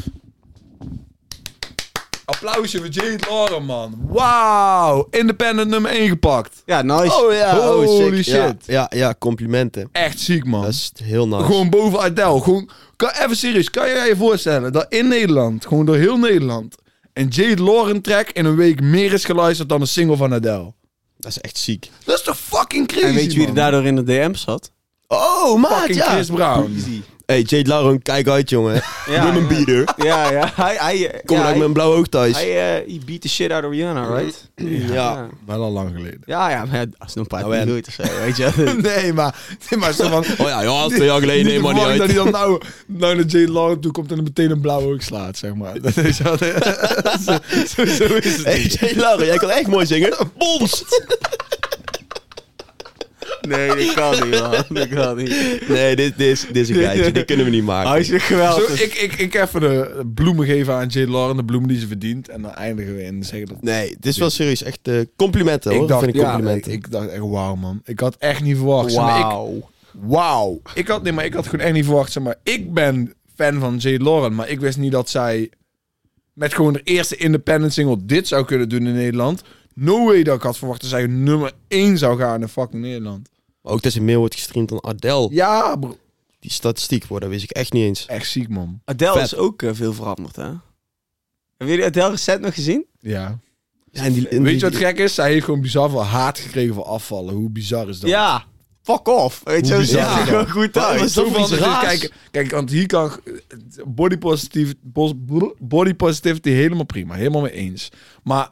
S1: applausje voor Jade Lawrence, man. Wauw, independent nummer 1 gepakt.
S2: dus- Ja, nice.
S1: ja,
S3: Oh,
S1: holy
S3: sick. Ja,
S1: shit.
S3: ja, ja, complimenten.
S1: Echt ziek, man.
S3: Dat is heel nice.
S1: Gewoon boven Adele. Gewoon, kan, even serieus, kan jij je voorstellen dat in Nederland, gewoon door heel Nederland, een Jade Lawrence track in een week meer is geluisterd dan een single van Adele?
S3: Dat is echt ziek.
S1: Dat is toch fucking crazy,
S2: en weet je wie er
S1: man?
S2: daardoor in de DM zat?
S3: Oh, maat,
S1: Fucking
S3: ja.
S1: Chris Brown.
S3: Hey, Jade Lauren, kijk uit, jongen.
S2: Ja,
S3: Neem een
S2: ja.
S3: bier.
S2: Ja, ja. Hij, hij, eh,
S3: Kom
S2: ja,
S3: maar uit
S2: hij,
S3: met een blauw oog thuis.
S2: hij, eh, he beat the shit out of Rihanna, right?
S3: Ja.
S1: Wel al lang geleden.
S2: Ja, ja, maar als een paar
S3: Nou, en-
S2: niet goed of zo, weet je.
S1: Nee, maar... Nee, maar zo van,
S3: Oh ja, ja, twee jaar geleden,
S1: Niet te
S3: neem maar niet
S1: verwachten
S3: uit.
S1: dat hij dan nou, nou naar Jade Lawrence toe komt en hem meteen een blauwe hoek slaat, zeg maar. Dat is wel- zo, zo, zo is het
S3: Hey,
S1: niet.
S3: Jade Lauren, jij kan echt mooi zingen. Bons!
S2: Nee, dat kan niet, man. Dat kan niet.
S3: Nee, dit, dit, is, dit is een geitje. Dit kunnen we niet maken.
S2: Hij is weer
S1: Zo,
S2: geweldig.
S1: ik, ik, ik even de bloemen geven aan Jade Lawrence, de bloemen die ze verdient. En dan eindigen we in zeggen dat...
S3: Nee, dit is wel serieus. Echt eh, complimenten, hoor.
S1: ik dacht,
S3: vind ik
S1: ja,
S3: complimenten.
S1: ik, ik dacht echt, wauw man. Ik had echt niet verwacht. zeg maar, ik- Wauw. Ik had, nee, maar ik had gewoon echt niet verwacht. Zeg maar, ik ben fan van Jade Lauren, maar ik wist niet dat zij met gewoon de eerste independent single dit zou kunnen doen in Nederland. No way dat ik had verwacht dat zij nummer 1 zou gaan in fucking Nederland.
S3: Maar ook dat ze meer wordt gestreamd dan Adele.
S1: Ja, bro.
S3: Die statistiek, hoor, dat wist ik echt niet eens.
S1: Echt ziek, man.
S2: Adele
S3: Vet.
S2: is ook eh, veel veranderd, hè? Hebben jullie Adele recent nog gezien?
S1: Ja.
S3: Ja, en die, en
S1: Weet je
S3: die-
S1: wat gek is? Zij heeft gewoon bizar veel haat gekregen voor afvallen. Hoe bizar is dat?
S2: Ja. Fuck off. Weet je,
S1: Hoe
S2: zo
S1: bizar
S2: ziet ze
S1: is
S2: gewoon
S1: dat?
S2: goed
S3: Wat
S2: uit.
S3: is dat
S1: Zoveel
S3: voor iets
S1: dat je-
S3: raars?
S1: Kijk, kijk, want hier kan body, positive, bos- body positivity helemaal prima. Helemaal mee eens. Maar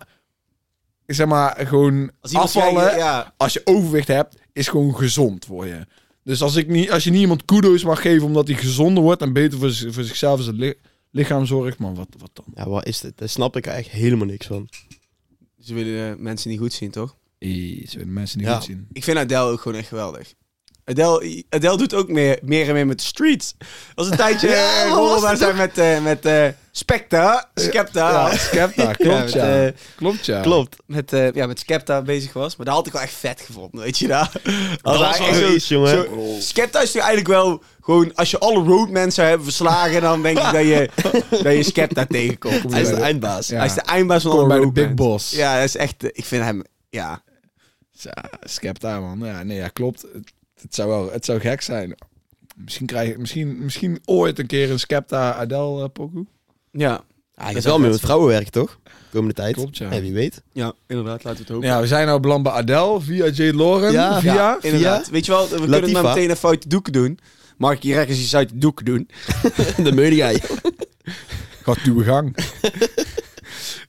S1: zeg maar gewoon
S2: Als iemand
S1: afvallen.
S2: zegt, ja.
S1: Als je overwicht hebt, is gewoon gezond voor je. Dus als, ik niet, als je niet iemand kudo's mag geven omdat hij gezonder wordt en beter voor, zich- voor zichzelf en zijn li- lichaam zorgt, man, wat, wat dan?
S3: Ja, wat is dit? Daar snap ik echt helemaal niks van.
S2: Ze willen eh, mensen niet goed zien, toch?
S1: Iets willen mensen niet
S3: Ja.
S1: goed zien.
S2: Ik vind Adele ook gewoon echt geweldig. Adele, Adele doet ook meer, meer en meer met de streets. Dat was een tijdje
S3: Ja,
S2: eh,
S3: wat was
S2: rollenbaar
S3: het
S2: zijn met, eh met eh Specta. Skepta.
S1: Ja, Skepta, klopt
S2: Ja,
S1: ja.
S2: met,
S1: klopt ja.
S3: Klopt.
S2: Met, eh, ja, met Skepta bezig was. Maar dat had ik wel echt vet gevonden, weet je daar.
S3: Dat was wel iets, jongen.
S2: Skepta is nu eigenlijk wel gewoon... Als je alle roadmen zou hebben verslagen... dan denk ik dat je, dat je Skepta tegenkomt.
S1: Kom
S3: Hij is de
S1: bij de-
S3: eindbaas.
S1: Ja.
S2: Hij is de eindbaas van
S1: Kom
S2: alle
S1: bij de
S2: roadmen.
S1: big boss.
S2: Ja, dat is echt... eh, Ik vind hem... Ja.
S1: Ja, Skepta, man. Ja, nee, ja, klopt. Het, het zou wel, het zou gek zijn. Misschien krijg ik, misschien, misschien ooit een keer een Skepta Adele eh, pokoe.
S2: Ja.
S3: Hij gaat wel meer met vrouwen werken, toch? Komende tijd.
S1: Klopt, ja.
S3: Nee, wie weet.
S2: Ja, inderdaad. Laten we het hopen.
S1: Ja, we zijn nou beland bij Adele via Jade Lauren.
S3: Ja.
S1: via.
S2: Ja, inderdaad.
S3: via
S2: Weet je wel, we kunnen
S3: Latifa.
S2: nou meteen een foute doeken doen. Mark, hier rechts is iets uit de doeken doen.
S3: De meurde jij.
S1: Gaat uw gang.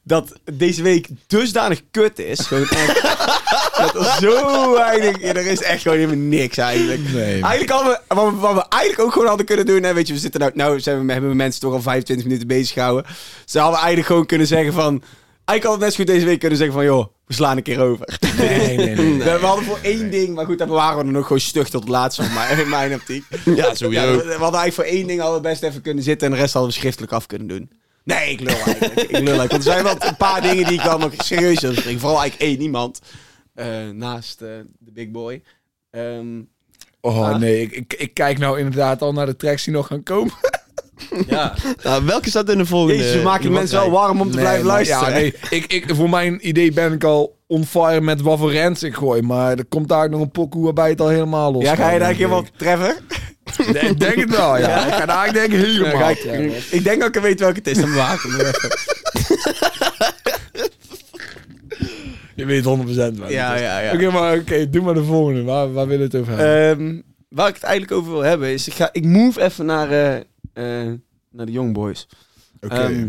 S2: dat deze week dusdanig kut is. Gewoon echt, dat er zo weinig... Ja, er is echt gewoon helemaal niks eigenlijk.
S1: Nee.
S2: Eigenlijk hadden we, wat, we, wat we eigenlijk ook gewoon hadden kunnen doen... Hè, weet je, we zitten nou... Nou zijn we, hebben we mensen toch al 25 minuten bezig gehouden. Dus dan hadden we eigenlijk gewoon kunnen zeggen van... Eigenlijk hadden we net zo goed deze week kunnen zeggen van... joh, we slaan een keer over.
S1: Nee, nee, nee.
S2: We, we hadden voor één ding, maar goed, daar waren we dan ook gewoon stug tot het laatste van mij, in mijn optiek.
S3: Ja,
S2: Ja,
S3: sowieso.
S2: we, we hadden eigenlijk voor één ding al best even kunnen zitten en de rest hadden we schriftelijk af kunnen doen. Nee, ik lul eigenlijk. ik lul eigenlijk. Want er zijn wel een paar dingen die ik dan nog serieus wil bespreken. Vooral eigenlijk één iemand eh, naast eh, de big boy. Ehm,
S1: Oh
S2: Ah.
S1: nee, ik, ik, ik kijk nou inderdaad al naar de tracks die nog gaan komen.
S2: ja.
S3: Nou, welke staat in de volgende?
S2: Jezus, we maken de mensen wel warm om te
S1: Nee,
S2: blijven
S1: maar-
S2: luisteren.
S1: Ja, nee, ik, ik, voor mijn idee ben ik al on fire met wat voor rants ik gooi. Maar er komt daar ook nog een pokoe waarbij het al helemaal los
S2: Ja, ga je daar
S1: denk
S2: helemaal treffen?
S1: ik. Nee, ik denk het wel, ja. Ik ga daar denk ik helemaal.
S2: Ja, ga ik,
S1: treffen.
S2: ik denk dat ik weet welke het is. Dan bewaar ik hem wel even.
S1: Je weet 100% wel.
S2: Ja, ja, ja.
S1: Oké, maar oké, doe maar de volgende. Waar, waar wil je het over hebben?
S2: Ehm, waar ik het eigenlijk over wil hebben is, ik, ga, ik move even naar, eh, eh, naar de Young Boys. Ehm,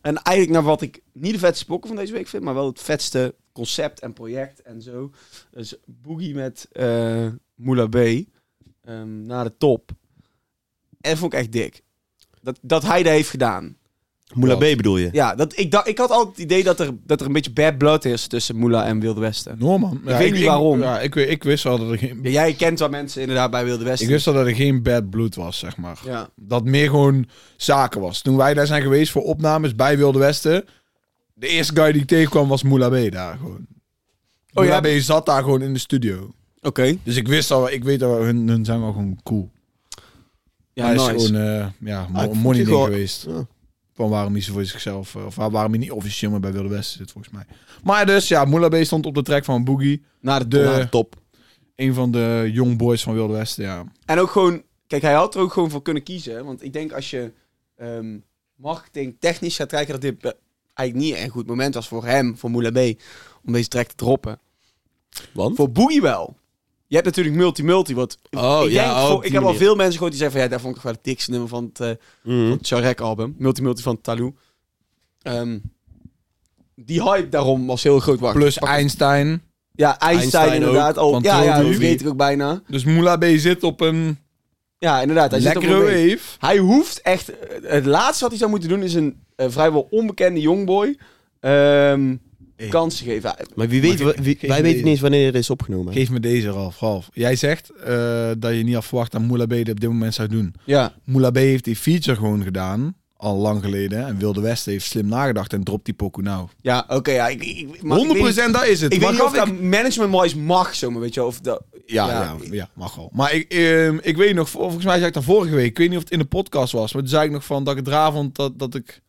S2: en eigenlijk naar wat ik niet de vetste bokken van deze week vind, maar wel het vetste concept en project en zo. Dus Boogie met eh Moula B ehm, naar de top. En vond ik echt dik. Dat, dat hij dat heeft gedaan.
S3: Moula B bedoel je?
S2: Ja, dat, ik, dacht, ik had altijd het idee dat er, dat er een beetje bad blood is tussen Moula en Wilde Westen.
S1: Norman.
S2: weet niet waarom.
S1: ja, ik, weet- ik wist wel dat er geen...
S2: Ja, jij kent wel mensen inderdaad bij Wilde Westen.
S1: Ik wist wel dat er geen bad blood was, zeg maar.
S2: ja.
S1: Dat meer gewoon zaken was. Toen wij daar zijn geweest voor opnames bij Wilde Westen. De eerste guy die ik tegenkwam was Moula B daar gewoon. Oh, Moula
S2: ja?
S1: B zat daar gewoon in de studio.
S2: Oké.
S1: Dus ik wist al, ik weet al, hun, hun zijn wel gewoon cool.
S2: Ja,
S1: hij
S2: nice.
S1: is gewoon eh, ja, mo-
S3: Ah, ik
S1: een
S3: vond
S1: money
S3: die
S1: ding
S3: wel-
S1: geweest.
S3: Ja.
S1: Van waarom hij ze voor zichzelf, eh, of waarom hij niet officieel meer bij Wilde Westen zit volgens mij. Maar dus, ja, Moula B stond op de track van Boogie.
S2: Naar de,
S1: De,
S2: top.
S3: Top.
S1: een van de young boys van Wilde Westen, ja.
S2: En ook gewoon, kijk, hij had er ook gewoon voor kunnen kiezen. hè, Want ik denk als je ehm marketing technisch gaat kijken, dat dit eh, eigenlijk niet een goed moment was voor hem, voor Moula B, om deze track te droppen.
S3: Want?
S2: Voor Boogie wel. Je hebt natuurlijk Multi-Multi, wat
S3: Oh,
S2: ik,
S3: ja,
S2: denk,
S3: oh,
S2: voor-
S3: op
S2: ik
S3: die
S2: heb al
S3: manier.
S2: veel mensen gehoord die zeggen van, ja, daar vond ik wel het dikste nummer van het, eh,
S3: Mhm.
S2: het Charek album. Multi-Multi van Talou. Ehm, die hype daarom was heel groot. Wacht,
S1: Plus
S2: pak-
S1: Einstein.
S2: Ja, Einstein,
S3: Einstein
S2: inderdaad.
S1: ook,
S2: al,
S1: van
S2: ja, ja, dat
S1: Trolldie.
S2: vergeet ik ook bijna.
S1: Dus Moula B zit op een
S2: Ja, inderdaad. Hij zit op
S1: lekkere
S2: een week.
S1: wave.
S2: Hij hoeft echt... eh, Het laatste wat hij zou moeten doen is een eh, vrijwel onbekende jongboy ehm
S1: Hey.
S2: kansen geven.
S3: Maar wie weet,
S1: Maar
S3: wa-
S1: ge-
S3: wie-
S1: geen
S3: wij
S1: idee.
S3: weten niet eens wanneer het is opgenomen.
S1: Geef me deze, Ralf. Ralf, jij zegt eh, dat je niet had verwacht dat Moula B dit op dit moment zou doen.
S2: Ja.
S1: Moula B heeft die feature gewoon gedaan, al lang geleden. En Wilde Westen heeft slim nagedacht en dropt die pokoe nou. 100%
S2: Ja, oké. ja, ik, ik, maar Ik weet, niet-
S1: dat is het.
S2: ik weet
S1: Maar
S2: niet of
S1: gaf
S2: dat management-wise mag zomaar, weet je wel, Of dat,
S1: Ja, ja. ja, mag wel. Maar ik, ehm, ik weet nog, vol- volgens mij zei ik dat vorige week. Ik weet niet of het in de podcast was, maar toen zei ik nog van dat ik het raar vond dat, dat ik...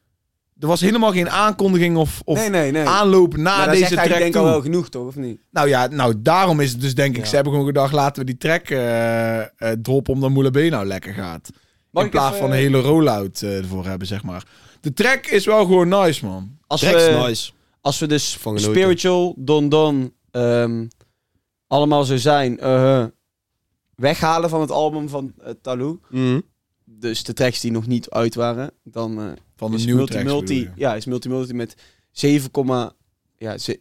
S1: Er was helemaal geen aankondiging of, of
S2: nee, nee, nee.
S1: aanloop na
S2: maar dat
S1: deze
S2: zegt hij
S1: track
S2: denk ik
S1: toe.
S2: al wel genoeg, toch? Of niet?
S1: Nou ja, nou daarom is het dus denk ik,
S2: Ja.
S1: ze hebben gewoon gedacht, laten we die track eh, eh, droppen omdat Moula B nou lekker gaat.
S2: Mag
S1: in
S2: ik
S1: plaats
S2: even-
S1: van een hele rollout eh, ervoor hebben, zeg maar. De track is wel gewoon nice, man.
S2: Als
S3: Tracks
S2: we,
S3: nice.
S2: als we dus
S3: Van genoten.
S2: spiritual, Don Don, ehm, allemaal zo zijn, eh, weghalen van het album van eh, Talou.
S3: Mhm.
S2: Dus de tracks die nog niet uit waren, dan... eh,
S1: Van de
S2: is
S1: nieuwe
S2: multi
S1: tracks.
S2: multi
S1: bedoel je.
S2: ja is multi multi met 7, ja, ze-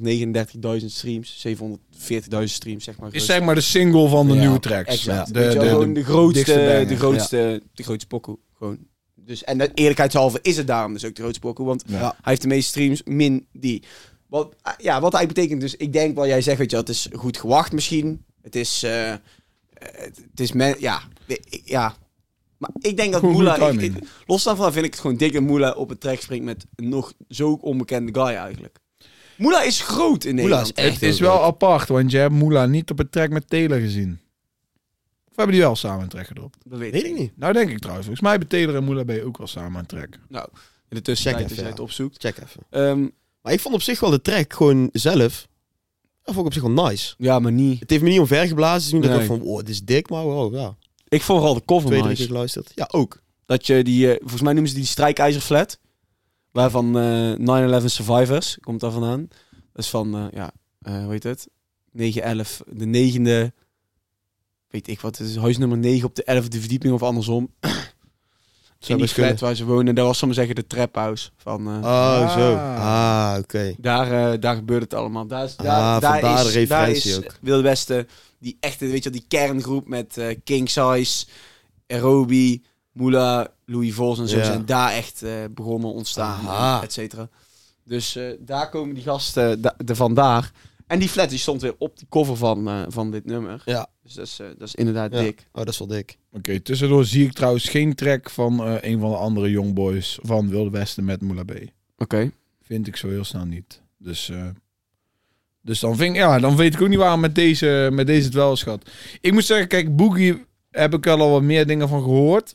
S2: 739.000 streams, 740.000 streams zeg maar.
S1: Is
S2: gerust.
S1: zeg maar de single van de
S3: Ja,
S1: nieuwe tracks.
S2: exact.
S1: Ja.
S2: Weet je wel, gewoon de, grootste,
S1: dikste
S2: de,
S1: banger.
S2: grootste, de grootste pokoe gewoon. Dus en dat, eerlijkheidshalve is het daarom dus ook de grootste pokoe, want
S1: Ja.
S2: hij heeft de meeste streams min die. Wat ah, ja, wat eigenlijk betekent dus, ik denk wel jij zegt, weet je, wel, het is goed gewacht misschien. Het is, eh, eh, het, het is men, ja, de- ik- ja. Maar ik denk dat
S1: Goeie
S2: Moela, ik-
S1: timing.
S2: ik- los daarvan vind ik het gewoon dikke Moela op het trek springt met een nog zo onbekende guy eigenlijk. Moela is groot in
S3: Moela
S2: Nederland.
S3: is
S1: Het
S3: echt
S1: is
S3: heel
S1: wel
S3: groot.
S1: apart, want je hebt Moula niet op het track met Taylor gezien. Of hebben die wel samen een track gedropt?
S2: Dat weet
S3: Weet ik niet.
S1: Nou denk ik trouwens. Volgens mij hebben Taylor en Moula B ook wel samen een track.
S2: Nou, in de tussentijd
S3: Check
S2: als
S3: even,
S2: jij
S3: ja.
S2: het opzoekt.
S3: Check even.
S2: Ehm,
S3: Maar ik vond op zich wel de track gewoon zelf. Dat vond ik op zich wel nice.
S2: ja, maar niet.
S3: Het heeft me niet omvergeblazen. Het is niet dat ik
S2: Nee.
S3: dacht van, oh, dit is dik, maar wow, ja.
S2: Ik vond vooral de cover
S3: Twee, drie
S2: nice.
S3: keer geluisterd. Ja, ook.
S2: Dat je die, eh, volgens mij noemen ze die strijkijzerflat. Waarvan eh 9-11 Survivors komt daar vandaan. Dat is van, eh, ja, eh, hoe heet het? 9-11, de negende, weet ik wat, het is huis nummer 9 op de 11e verdieping of andersom. in die
S3: best
S2: flat
S3: kunnen.
S2: waar ze wonen. Daar was, zal ik maar zeggen, de trap house van... eh,
S3: Oh, zo.
S1: Ah.
S3: Ah, oké.
S2: Daar, eh, daar gebeurt het allemaal. Daar is,
S3: Ah,
S2: daar, daar
S3: vandaar de
S2: is, daar
S3: referentie
S2: is
S3: ook.
S2: Wilde Westen, die echte, weet je wel, die kerngroep met eh, King Size, Aerobi, Moula, Louis Vos en zo
S3: Ja.
S2: zijn daar echt eh, begonnen, ontstaan,
S3: Aha.
S2: eh, et cetera. Dus eh, daar komen die gasten eh, da- de vandaar. En die flat die stond weer op die cover van, eh, van dit nummer.
S3: Ja.
S2: Dus dat is, eh, dat is inderdaad
S3: Ja.
S2: dik.
S3: Oh, dat is wel dik.
S1: Oké, tussendoor zie ik trouwens geen track van eh, een van de andere Youngboys van Wilde Westen met Moula B.
S2: Oké.
S1: Vind ik zo heel snel niet. Dus, eh, dus dan, vind, ik- ja, dan weet ik ook niet waarom met deze, met deze het wel is gehad. Ik moet zeggen, kijk, Boogie heb ik wel al wat meer dingen van gehoord.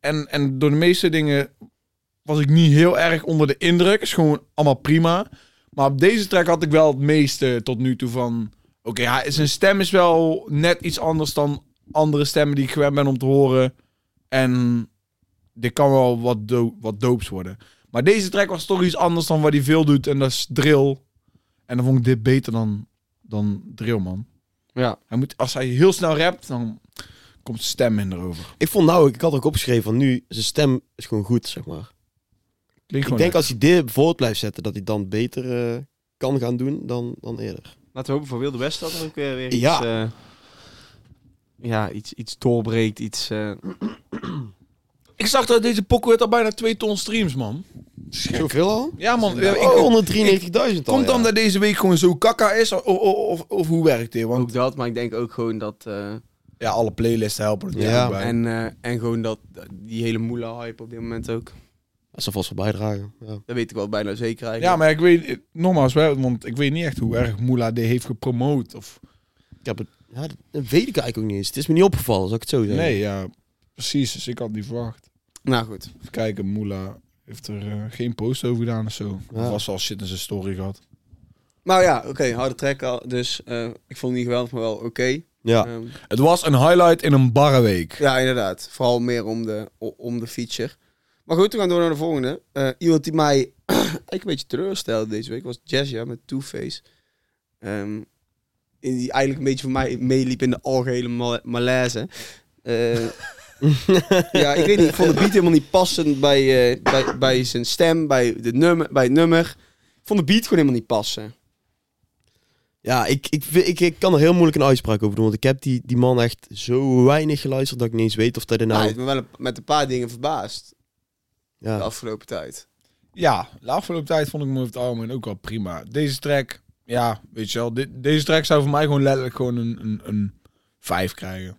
S1: En, en door de meeste dingen was ik niet heel erg onder de indruk. Is gewoon allemaal prima. Maar op deze track had ik wel het meeste tot nu toe van... Oké, ja, zijn stem is wel net iets anders dan andere stemmen die ik gewend ben om te horen. En dit kan wel wat, do wat doops worden. Maar deze track was toch iets anders dan wat hij veel doet. En dat is drill. En dan vond ik dit beter dan, dan drill, man.
S2: Ja.
S1: Hij moet, als hij heel snel rapt, dan komt zijn stem minder over.
S3: Ik vond nou, ik had ook opgeschreven van nu, zijn stem is gewoon goed, zeg maar.
S1: Klinkt
S3: Ik
S1: gewoon
S3: denk
S1: lekker.
S3: als hij dit voort blijft zetten, dat hij dan beter eh, kan gaan doen dan, dan eerder.
S2: Laten we hopen voor Wilde Westen dat er ook eh, weer
S3: Ja.
S2: iets... eh, ja, iets, iets doorbreekt, iets... eh,
S1: Ik zag dat deze pokoe had al bijna 2 ton streams, man.
S3: Zoveel al?
S1: Ja, man. eh, ik-
S3: Oh, 193.000 al,
S1: komt
S3: ja.
S1: dan dat deze week gewoon zo kakka is? Of, of, of, of hoe werkt dit? Want
S2: Ook dat, maar ik denk ook gewoon dat... eh,
S1: ja, alle playlisten helpen er natuurlijk
S3: Ja.
S1: bij.
S2: En, eh, en gewoon dat, die hele moela-hype op dit moment ook.
S3: Dat zal vast wel bijdragen. Ja.
S2: Dat weet ik wel bijna zeker
S1: ja,
S2: eigenlijk.
S1: maar ik weet, eh, nogmaals, hè, want ik weet niet echt hoe erg Moela dit heeft gepromoot. Of,
S3: Ik heb het, ja, dat dat weet ik eigenlijk ook niet eens. Het is me niet opgevallen, zal ik het zo zeggen.
S1: nee, ja, precies. Dus ik had niet verwacht.
S2: Nou goed.
S1: Even kijken, Moela heeft er eh, geen post over gedaan of zo.
S3: Ja.
S1: Of was al shit in zijn story gehad.
S2: Maar Nou ja, oké, harde track al. Dus eh, ik vond het niet geweldig, maar wel oké.
S3: Ja.
S2: Ehm,
S1: Het was een highlight in een barre week.
S2: ja, inderdaad. Vooral meer om de, o- om de feature. Maar goed, we gaan door naar de volgende. Eh, iemand die mij eigenlijk een beetje teleurstelde deze week was Jazia met Two Face. Ehm, en die eigenlijk een beetje voor mij meeliep in de algehele mal- malaise. Eh, ja, ik weet niet. Ik vond de beat helemaal niet passend bij, eh, bij, bij zijn stem, bij, de nummer, bij het nummer. Ik vond de beat gewoon helemaal niet
S3: Nou.
S2: passen.
S3: Ja, ik, ik, vind- ik, ik kan er heel moeilijk een uitspraak over doen. Want ik heb die, die man echt zo weinig geluisterd dat ik niet eens weet of dat er
S2: Nou,
S3: nou...
S2: hij heeft me wel een- met een paar dingen verbaasd de
S3: Ja,
S2: afgelopen tijd.
S1: Ja, de afgelopen tijd vond ik hem over het algemeen ook wel prima. Deze track, ja, weet je wel. dit- deze track zou voor mij gewoon letterlijk gewoon een, een, een 5 krijgen.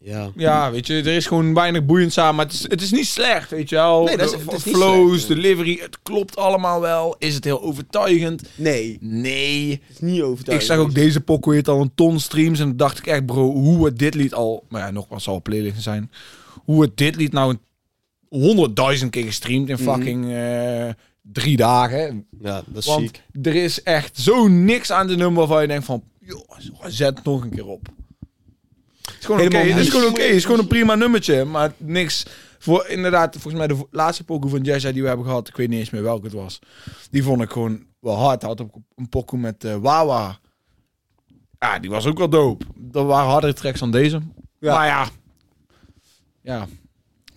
S3: ja.
S1: Ja, weet je, er is gewoon weinig boeiend aan, maar het is, het is niet slecht, weet je wel.
S2: Nee, dat is-
S1: de,
S2: het is niet
S1: flows,
S2: slecht, nee.
S1: delivery, het klopt allemaal wel. Is het heel overtuigend?
S2: Nee,
S1: Nee.
S2: het is niet
S1: Ik
S2: overtuigend.
S1: zag ook deze pokoe heeft al een ton streams. En dan dacht ik echt, bro, hoe het dit lied al... Maar ja, nogmaals, zal playlisten zijn. Hoe het dit lied nou een 100.000 keer gestreamd in fucking eh, drie dagen.
S3: ja, dat is
S1: Want
S3: ziek.
S1: er is echt zo niks aan de nummer waarvan je denkt van... Joh, zet het nog een keer op. Het is gewoon oké,
S2: Helemaal
S1: het is
S2: niks.
S1: gewoon oké. Het is gewoon een prima nummertje, maar niks... Voor, inderdaad, volgens mij de vo- laatste pokoe van Jazza die we hebben gehad, ik weet niet eens meer welke het was. Die vond ik gewoon wel hard. Hij Had ook een pokoe met eh, Wawa. Ja, die was ook wel dope. Dat waren hardere tracks dan deze.
S2: Ja.
S1: Maar ja, ja,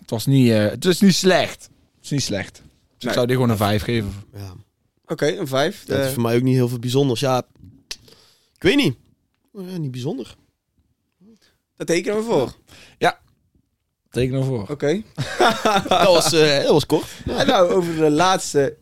S1: het was niet, eh, het is niet slecht. Het is niet slecht. Dus
S2: Nee.
S1: ik zou die gewoon een 5 geven.
S3: Ja.
S2: Oké, een vijf.
S3: Dat
S2: Eh,
S3: is voor mij ook niet heel veel bijzonders. Ja, ik weet niet. Eh, niet bijzonder.
S2: dat tekenen we voor. Oké.
S1: Teken ervoor.
S3: dat, was, eh, dat was kort.
S2: En nou, over de laatste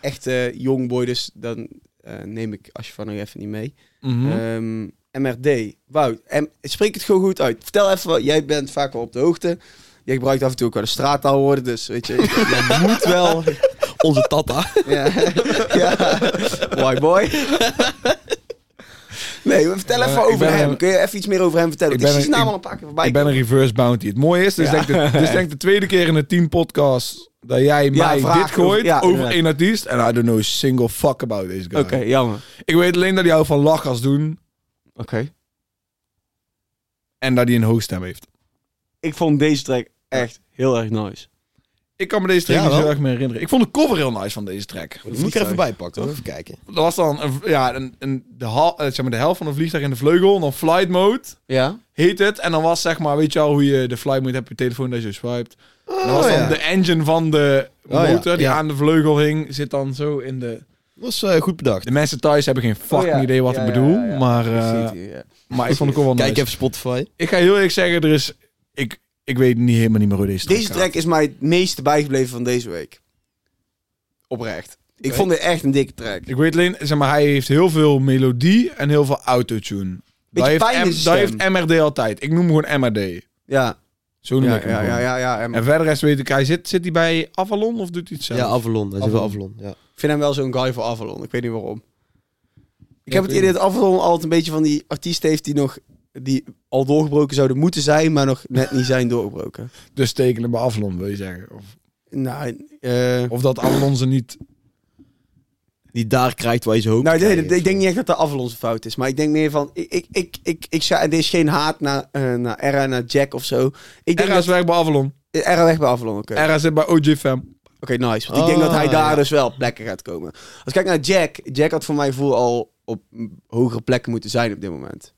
S2: echte jongboy, dus dan eh, neem ik Ashvan nog even niet mee.
S1: Mhm.
S2: Ehm, MRD, Wout, en spreek het gewoon goed uit. Vertel even, wat, jij bent vaak wel op de hoogte. Jij gebruikt af en toe ook wel de straattaalwoorden, dus weet je, je moet wel.
S3: Onze tata.
S2: Ja, ja. Why boy? Nee, vertel even
S1: Eh, ik
S2: over
S1: ben
S2: hem.
S1: een-
S2: Kun je even iets meer over hem vertellen?
S1: Ik
S2: Want Ik,
S1: ben
S2: zie
S1: een-
S2: zijn naam
S1: ik-
S2: al een paar keer voorbij.
S1: Ik ben een reverse bounty. Het mooie is, dit is, denk, ik de, dit is denk ik de tweede keer in de team podcast dat jij mij
S2: vragen
S1: dit gooit
S2: over- ja,
S1: over
S2: inderdaad.
S1: één artiest. En I don't know a single fuck about this guy.
S2: komen. Oké, jammer.
S1: Ik weet alleen dat hij houdt van lachgas doen
S2: Oké.
S1: en dat hij een hoogstem heeft.
S2: Ik vond deze track echt heel erg nice.
S1: Ik kan me deze track
S3: Ja,
S1: niet
S3: wel.
S1: zo erg meer herinneren. Ik vond de cover heel nice van deze track.
S3: Moet ik er even bij pakken, hoor. even kijken.
S1: Dat was dan een, ja, een, een, de, hal- eh, zeg maar de helft van een vliegtuig in de vleugel. En dan flight mode
S2: Ja.
S1: heet het. En dan was zeg maar, weet je al hoe je de flight mode hebt, op je telefoon dat je swiped. en dan was dan
S2: Oh,
S3: ja.
S1: de engine van de
S3: ja,
S1: motor die
S3: ja.
S1: aan de vleugel hing, zit dan zo in de...
S3: Dat is eh, goed bedacht.
S1: De mensen thuis hebben geen fucking
S2: Oh, ja.
S1: idee wat
S2: Ja,
S1: ik
S2: ja,
S1: bedoel.
S2: ja, ja.
S1: Maar,
S2: Ik
S1: eh,
S2: zie het hier, ja.
S1: maar ik vond het ook wel nice.
S3: Kijk even Spotify.
S1: Ik ga heel eerlijk zeggen, er is... Ik, ik weet niet helemaal niet meer hoe deze track
S2: Deze
S1: gaat.
S2: track is mij het meeste bijgebleven van deze week. Oprecht. Ik vond dit echt een dikke track.
S1: Ik weet alleen, zeg maar, hij heeft heel veel melodie en heel veel autotune. Dat heeft,
S2: pijn in
S1: M-
S2: zijn
S1: dat
S2: stem.
S1: heeft MRD altijd. Ik noem hem gewoon MRD.
S2: Ja.
S1: Zo noem
S2: Ja,
S1: ik hem
S2: ja,
S1: gewoon.
S2: ja, ja, ja. En
S1: En verder rest weet ik, hij zit, zit hij bij Avalon of doet hij iets zelf?
S3: Ja, Avalon. Hij zit wel Avalon, ja.
S2: Ik vind hem wel zo'n guy voor Avalon. Ik weet niet waarom.
S1: ik
S2: Ik heb het
S1: weet
S2: idee dat Avalon altijd een beetje van die artiesten heeft die nog... Die al doorgebroken zouden moeten zijn, maar nog net niet zijn doorgebroken.
S1: Dus tekenen bij Avalon, wil je zeggen. Of,
S2: Nou, eh,
S1: of dat Avalon ze niet...
S3: Die daar krijgt waar je ze hoopt.
S2: nou
S3: te
S2: nee,
S3: krijgen.
S2: ik denk niet echt dat de Avalon zijn fout is. Maar ik denk meer van... Ik, ik, ik, ik, ik, zou- en dit is geen haat naar, eh naar Era, naar Jack of zo. Ik denk
S1: Era is werk bij Avalon.
S2: dat... Era weg bij Avalon, oké.
S1: Era zit bij OJFM.
S2: Oké, nice. Want ik denk
S3: Ah,
S2: dat hij daar
S3: ja.
S2: dus wel op plekken gaat komen. Als ik kijk naar Jack. Jack had voor mijn gevoel al op mm, hogere plekken moeten zijn op dit moment.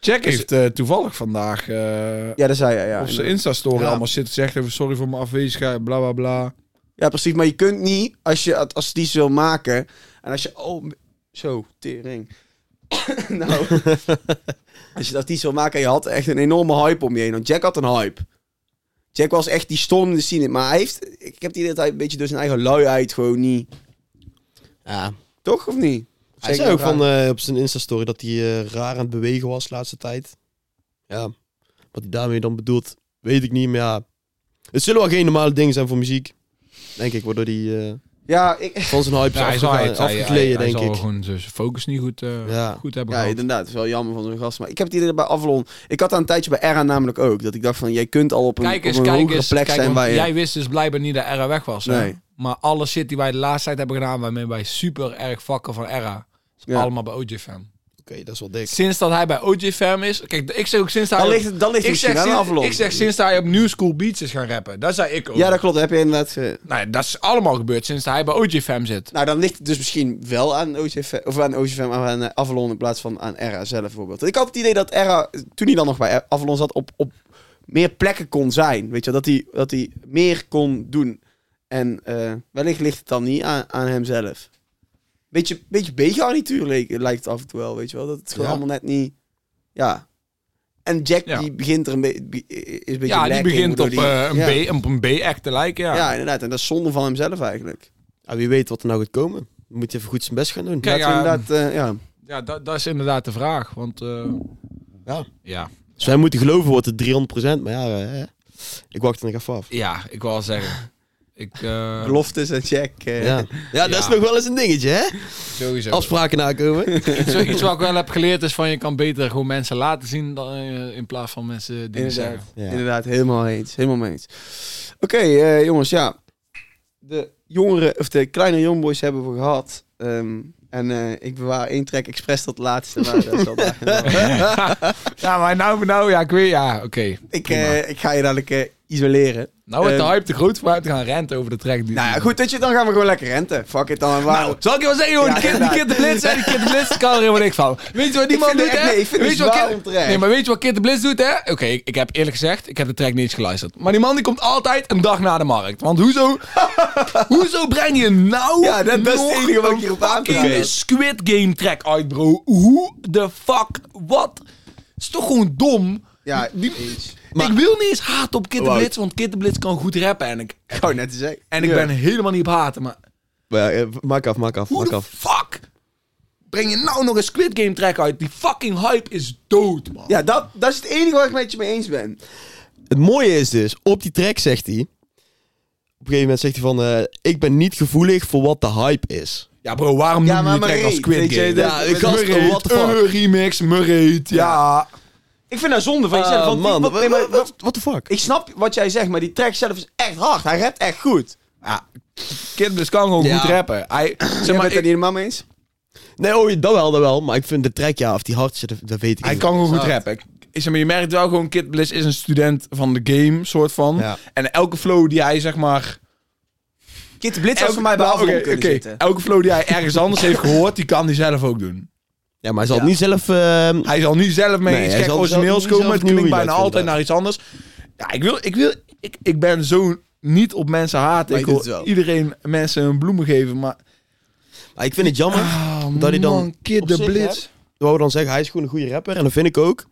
S1: Jack heeft eh, toevallig vandaag eh,
S2: Ja, dat zei hij, ja.
S1: op zijn Insta-story
S3: Ja.
S1: allemaal zitten gezegd. Even sorry voor mijn afwezigheid, bla bla bla.
S2: Ja, precies. Maar je kunt niet, als je het als die wil maken... En als je... Oh, m- zo, tering. nou... als je het artiest wil maken... Je had echt een enorme hype om je heen. Want Jack had een hype. Jack was echt die stormende scene. Maar hij heeft... Ik heb die idee dat hij een beetje door zijn eigen luiheid gewoon niet...
S3: Ja.
S2: Toch, of niet?
S3: Hij zei ook van, eh, op zijn Insta-story dat hij eh, raar aan het bewegen was de laatste tijd. Ja. Wat hij daarmee dan bedoelt, weet ik niet. Maar ja, het zullen wel geen normale dingen zijn voor muziek. Denk ik, waardoor hij eh,
S2: Ja, ik...
S3: van zijn hype is afgegaan- afgegleden, denk ik.
S1: gewoon zijn focus niet goed, eh,
S3: Ja.
S1: goed hebben
S2: Ja, inderdaad. Het is wel jammer van zo'n gast. Maar ik heb het idee dat bij Avalon... Ik had dat een tijdje bij Era namelijk ook. Dat ik dacht van, jij kunt al op een,
S1: Kijk eens,
S2: op een
S1: kijk
S2: hogere
S1: eens.
S2: plek
S1: kijk,
S2: zijn
S1: want
S2: waar je...
S1: Jij wist dus blijkbaar niet dat Era weg was. hè?
S2: Nee.
S1: Maar alle shit die wij de laatste tijd hebben gedaan, waarmee wij super erg vakken van Era, is
S2: Ja.
S1: allemaal bij OJFM.
S3: Oké, dat is wel dik.
S1: Sinds dat hij bij OJFM is, kijk, ik zeg ook sinds hij...
S2: Dan
S1: op-
S2: ligt het, dan ligt
S1: ik,
S2: het
S1: zeg
S2: misschien wel aan
S1: sinds,
S2: Avalon.
S1: ik zeg sinds hij op New School Beats is gaan rappen. Dat zei ik ook.
S2: Ja, dat klopt. Heb je inderdaad... eh, ge-
S1: Nou ja, dat is allemaal gebeurd sinds hij bij OJFM zit.
S2: Nou, dan ligt het dus misschien wel aan OCFM, of aan OCFM, aan eh, Avalon in plaats van aan Era zelf bijvoorbeeld. Ik had het idee dat Era, toen hij dan nog bij Avalon zat, op, op meer plekken kon zijn. Weet je, wel, dat hij, dat hij meer kon doen. En eh, wellicht ligt het dan niet aan, aan hemzelf. Beetje, beetje B-garnituur leek- lijkt het af en toe wel, weet je wel. Dat het gewoon
S3: Ja.
S2: allemaal net niet... Ja. En Jack,
S1: Ja.
S2: die begint er een beetje... Is een beetje
S1: Ja, die
S2: lacking,
S1: begint op,
S2: waardoor die-
S1: eh, een
S2: ja.
S1: B, op een B-act te lijken, ja.
S2: Ja, inderdaad. En dat is zonde van hemzelf eigenlijk.
S3: Ja, wie weet wat er nou gaat komen. Dan moet hij even goed zijn best gaan doen.
S1: Kijk,
S2: Laten we
S1: ja,
S2: inderdaad, eh, ja.
S1: Ja, dat, dat is inderdaad de vraag. Want eh,
S3: Ja.
S1: ja.
S3: Zij moeten geloven wordt het 300%, maar ja, eh, ik wacht er nog even af.
S1: ja, ik wil wel zeggen. Ik, eh,
S2: Beloftes en Jack. eh,
S3: Ja. ja, dat is
S1: Ja.
S3: nog wel eens een dingetje, hè?
S1: sowieso.
S3: Afspraken nakomen.
S1: Zo, iets wat ik wel heb geleerd is van je kan beter gewoon mensen laten zien dan, eh, in plaats van mensen dingen
S2: Inderdaad,
S1: zeggen.
S3: Ja.
S2: inderdaad, helemaal eens. Helemaal mee eens. Oké, eh, jongens, ja. De jongeren, of de kleine jongboys hebben we gehad. Ehm, en eh, ik bewaar één track expres tot laatste. Maar dat zal daar-
S1: Ja, maar nou, nou ja, ik weet, ja, oké.
S2: ik, eh, ik ga je dadelijk eh, isoleren.
S1: Nou, het
S2: Ehm,
S1: de hype te groot voor uit te gaan renten over de track. Die
S2: Nou ja, goed, weet je, dan gaan we gewoon lekker renten. Fuck it, dan. Waar...
S1: Nou, zal ik je wel zeggen, hoor,
S2: Ja,
S1: die kind, die kind
S2: inderdaad.
S1: de blitz, hè, die kind de blitz kan er helemaal niks van. Weet je wat die
S2: Ik
S1: man
S2: vind
S1: doet,
S2: het-
S1: hè?
S2: nee, ik vind
S1: weet
S2: het
S1: je wat
S2: zwaar
S1: Kid-
S2: onterecht.
S1: Nee, maar weet je wat kind de blitz doet, hè? Oké, ik, ik heb eerlijk gezegd, ik heb de track niet eens geluisterd. Maar die man die komt altijd een dag na de markt. Want hoezo, hoezo breng je nou
S2: Ja, dat- dat is het
S1: nog
S2: enige wat ik
S1: een
S2: hierop aan te
S1: fucking
S2: haken.
S1: Squid Game track uit, bro? Hoe de fuck, wat? is toch gewoon dom?
S2: Ja, eens.
S1: ik wil niet eens haat op Kid de
S3: Wout.
S1: Blitz, want Kid de Blitz kan goed rappen. En ik,
S2: Ik wou net te zeggen.
S1: en ik
S2: Ja.
S1: ben helemaal niet op haten, maar...
S3: Maar ja, eh, maak af, maak af,
S1: Hoe
S3: maak
S1: de
S3: af.
S1: fuck breng je nou nog een Squid Game track uit? Die fucking hype is dood, man.
S2: Ja, dat, dat is het enige waar ik met je mee eens ben.
S3: Het mooie is dus, op die track zegt hij... Op een gegeven moment zegt hij van... eh, ik ben niet gevoelig voor wat de hype is.
S1: Ja, bro, waarom
S2: Ja,
S1: noem
S2: maar
S1: je track
S2: Marie,
S1: als Squid
S2: weet je,
S1: Game?
S2: dat-
S3: Ja, ik gast,
S1: Murray,
S3: what the fuck?
S1: een remix, Murreet, ja.
S2: Ik vind dat zonde van jezelf.
S3: Ah,
S2: want die-
S3: man,
S2: wat- nee, maar-
S3: what the fuck?
S2: Ik snap wat jij zegt, maar die track zelf is echt hard. Hij rapt echt goed.
S1: ja. Kid Blitz kan gewoon
S3: Ja.
S1: goed rappen. Hij, zeg
S2: Jij
S1: maar,
S2: bent het er niet
S1: ik-
S2: helemaal mee eens?
S3: Nee, oh, dat wel, dat wel. Maar ik vind de track, ja, of die hard zit, dat- dat weet ik
S1: hij
S3: niet.
S1: kan gewoon goed rappen. Ik- Zeg maar, je merkt wel gewoon, Kid Blitz is een student van de game, soort van.
S3: Ja.
S1: En elke flow die hij, zeg maar...
S2: Kit Blitz had voor mij bij
S1: nou,
S2: Avalon
S1: oké,
S2: kunnen
S1: oké.
S2: zitten.
S1: Elke flow die hij ergens anders heeft gehoord, die kan hij zelf ook doen.
S3: Ja, maar hij zal het
S2: Ja.
S3: niet zelf... ehm,
S1: Hij zal niet zelf mee
S3: Nee,
S1: iets
S3: hij
S1: gek
S3: zal zelf
S1: origineels
S3: niet
S1: komen.
S3: zelf
S1: Het klinkt
S3: nieuw
S1: bijna
S3: iets
S1: altijd naar iets anders. Ja, ik wil... Ik, wil, ik, ik ben zo niet op mensen haten.
S3: Maar
S1: Ik
S3: je doet
S1: wil
S3: het wel.
S1: iedereen mensen hun bloemen geven, maar...
S3: maar ik vind het jammer.
S1: Ah,
S3: Dat hij dan
S1: man, Kid
S3: op
S1: de
S3: zich, hè?
S1: Blitz.
S3: Wou we dan zeggen, hij is gewoon een goede rapper. En dat vind ik ook.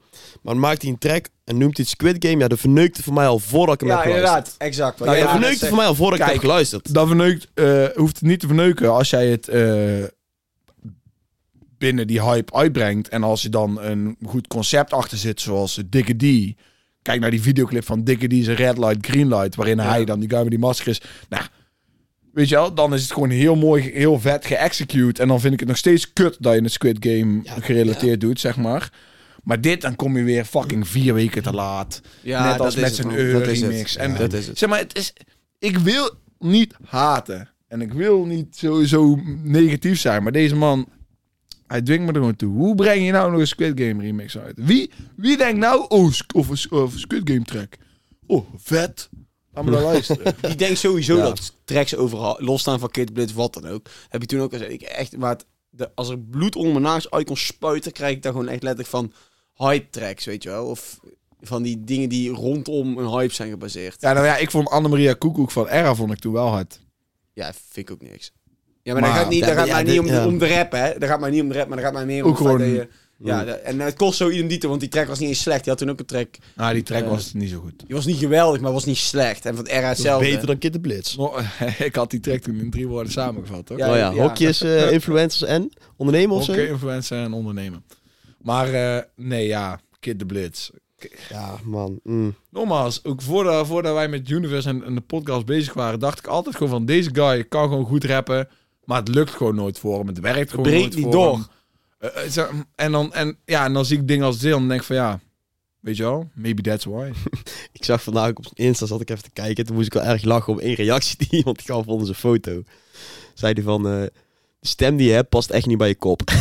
S3: Maar dan maakt hij een track en noemt hij het Squid Game. Ja, dat verneukt voor mij al voordat ik hem
S2: Ja,
S3: heb geluisterd.
S2: inderdaad. Exact. Wat
S1: Nou,
S2: jij
S1: ja, verneukt
S2: net
S3: dat verneukt
S2: zegt.
S3: voor mij al voordat ik
S1: Kijk.
S3: heb geluisterd.
S1: Dat verneukt, eh, hoeft het niet te verneuken als jij het eh, binnen die hype uitbrengt. En als je dan een goed concept achter zit, zoals Dikke D. Kijk naar die videoclip van Dikke D's Red Light, Green Light. Waarin hij dan die guy met die masker is. Nou, weet je wel, dan is het gewoon heel mooi, heel vet geëxecute. En dan vind ik het nog steeds kut dat je het Squid Game gerelateerd doet, zeg maar. Maar dit, dan kom je weer fucking vier weken te laat.
S2: Ja,
S1: Net als
S2: dat
S1: met
S2: is het,
S1: zijn
S2: man. Dat is het.
S1: Euromix. En
S2: Ja, dat is het.
S1: Zeg maar, het is, ik wil niet haten. En ik wil niet sowieso negatief zijn. Maar deze man, hij dwingt me er gewoon toe. Hoe breng je nou nog een Squid Game remix uit? Wie, wie denkt nou, oh, sc- of een s- of een Squid Game track? Oh, vet. Laat me dan luisteren.
S2: Die denkt sowieso
S3: Ja.
S2: dat tracks overal, losstaan van Kid Blitz, wat dan ook. Heb je toen ook gezegd, ik echt, maar het- de, als er bloed onder mijn nagels uit kon spuiten, krijg ik daar gewoon echt letterlijk van hype tracks, weet je wel. Of van die dingen die rondom een hype zijn gebaseerd. Ja,
S1: ja, nou ja, ik vond Annemaria Koekoek van Era vond ik toen wel hard.
S2: vind ik ook niks. Ja, maar,
S1: Maar-
S2: daar gaat, niet, daar
S3: Ja,
S2: gaat
S3: ja,
S2: mij
S3: dit-
S2: niet om,
S3: ja.
S2: om de rap, hè. Daar gaat mij niet om de rap, maar daar gaat mij meer om
S1: Ook
S2: het feit
S1: gewoon-
S2: dat je-
S3: Mm.
S2: Ja, dat- en eh, het kost zo identite, want die track was niet eens slecht. Die had toen ook een track.
S1: Nou, die track
S2: Eh.
S1: was niet zo goed.
S2: Die was niet geweldig, maar was niet slecht. En van Era
S3: Dat is
S2: hetzelfde.
S3: beter dan Kid de Blitz.
S1: ik had die track toen in drie woorden samengevat, toch?
S2: Ja,
S3: oh ja,
S2: ja.
S3: hokjes, eh, influencers en ondernemen of zo.
S1: Oké, influencer en ondernemen. Maar eh, nee, ja, Kid de Blitz.
S3: Ja, man. mm.
S1: Nogmaals, ook voordat, voordat wij met Universe en, en de podcast bezig waren, dacht ik altijd gewoon van deze guy kan gewoon goed rappen, maar het lukt gewoon nooit voor hem. Het werkt gewoon
S2: breekt
S1: nooit
S2: niet
S1: voor
S2: door.
S1: hem. Eh, eh, zo- en, dan, en, ja, en dan zie ik dingen als dit en dan denk ik van ja, weet je wel, maybe that's why.
S3: Ik zag vandaag ook op zijn Insta, zat ik even te kijken. Toen moest ik wel erg lachen om één reactie die iemand gaf onder zijn foto. Zei hij van, eh, de stem die je hebt past echt niet bij je kop.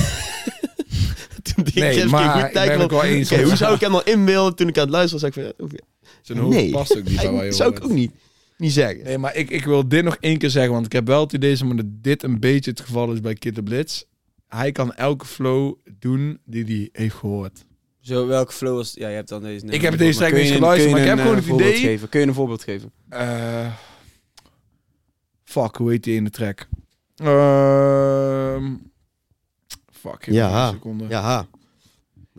S3: toen dacht
S1: Nee,
S3: ik even
S1: maar
S3: goed
S1: ik ben
S3: kijken.
S1: het
S3: van,
S1: wel eens.
S3: oké, hoe zou ik hem dan inbeelden toen ik aan het luisteren was? Zei ik van, ja,
S1: Zijn hoofd
S3: Nee.
S1: past ook niet bij waar je
S3: dat zou ik
S1: hoort.
S3: ook niet, niet zeggen.
S1: Nee, maar ik, ik wil dit nog één keer zeggen, want ik heb wel het idee zeg maar, dat dit een beetje het geval is bij Kid de Blitz. Hij kan elke flow doen die hij heeft gehoord.
S2: Zo, welke flow was... Ja, je hebt dan deze...
S1: Ik heb deze track
S2: Kun je
S1: niet
S2: een-
S1: geluisterd,
S2: kun je
S1: maar ik heb
S2: een, eh,
S1: gewoon het
S2: voorbeeld
S1: idee-
S2: geven? Kun je een voorbeeld geven?
S1: Eh, fuck, hoe heet die in de track? Ehm fuck, even
S3: Ja.
S1: een seconde.
S3: Ja, ha.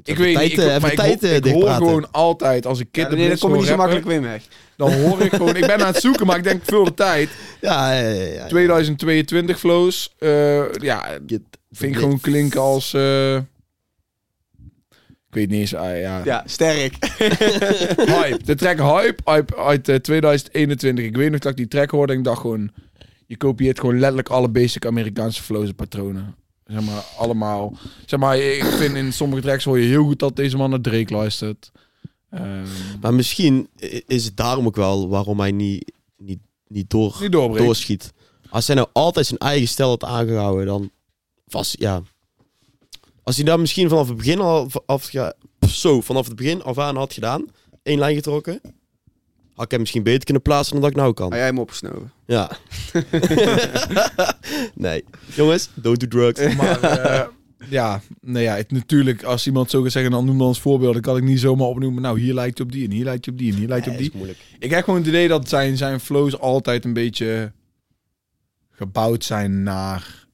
S1: Ik weet niet,
S3: tijd,
S1: ik,
S3: eh,
S1: maar
S3: even
S1: ik,
S3: tijd,
S1: hoor-
S3: eh,
S1: ik
S3: dicht
S1: hoor
S3: praten.
S1: gewoon altijd, als ik Kid
S2: Ja,
S1: de
S2: nee,
S1: Blitz
S2: daar kom je niet zo
S1: hoor
S2: makkelijk
S1: rappen,
S2: weer weg.
S1: dan hoor ik gewoon, ik ben aan het zoeken, maar ik denk veel de tijd.
S3: Ja, ja, ja, ja.
S1: 2022 flows, eh, ja,
S3: Kid de
S1: vind
S3: Blitz.
S1: ik gewoon klinken als... eh, ik weet niet eens, ah, ja.
S2: Ja, sterk.
S1: Hype, de track Hype, Hype uit eh, 2021. Ik weet nog dat ik die track hoorde en ik dacht gewoon... Je kopieert gewoon letterlijk alle basic Amerikaanse flows en patronen. Zeg maar, allemaal. Zeg maar, ik vind in sommige tracks hoor je heel goed dat deze man naar Drake luistert. Ehm,
S3: Maar misschien i- is het daarom ook wel waarom hij niet, niet, niet, door,
S1: niet doorbreekt.
S3: doorschiet. Als hij nou altijd zijn eigen stijl had aangehouden, dan was ja. Als hij daar misschien vanaf het begin al v- af, ja, zo, vanaf het begin af aan had gedaan, één lijn getrokken, had ik hem misschien beter kunnen plaatsen dan dat ik nou kan.
S1: Oh, Ah,
S2: Had jij hem opgesnoven?
S3: Ja. nee. Jongens, don't do drugs.
S1: Maar eh, ja, nee, ja het, natuurlijk, als iemand zo gaat zeggen, dan noem dan als voorbeeld. Dan kan ik niet zomaar opnoemen. Nou, hier lijkt je op die en hier lijkt je op die en hier lijkt je op
S3: Nee,
S1: die.
S3: is moeilijk.
S1: Ik heb gewoon het idee dat zijn, zijn flows altijd een beetje gebouwd zijn naar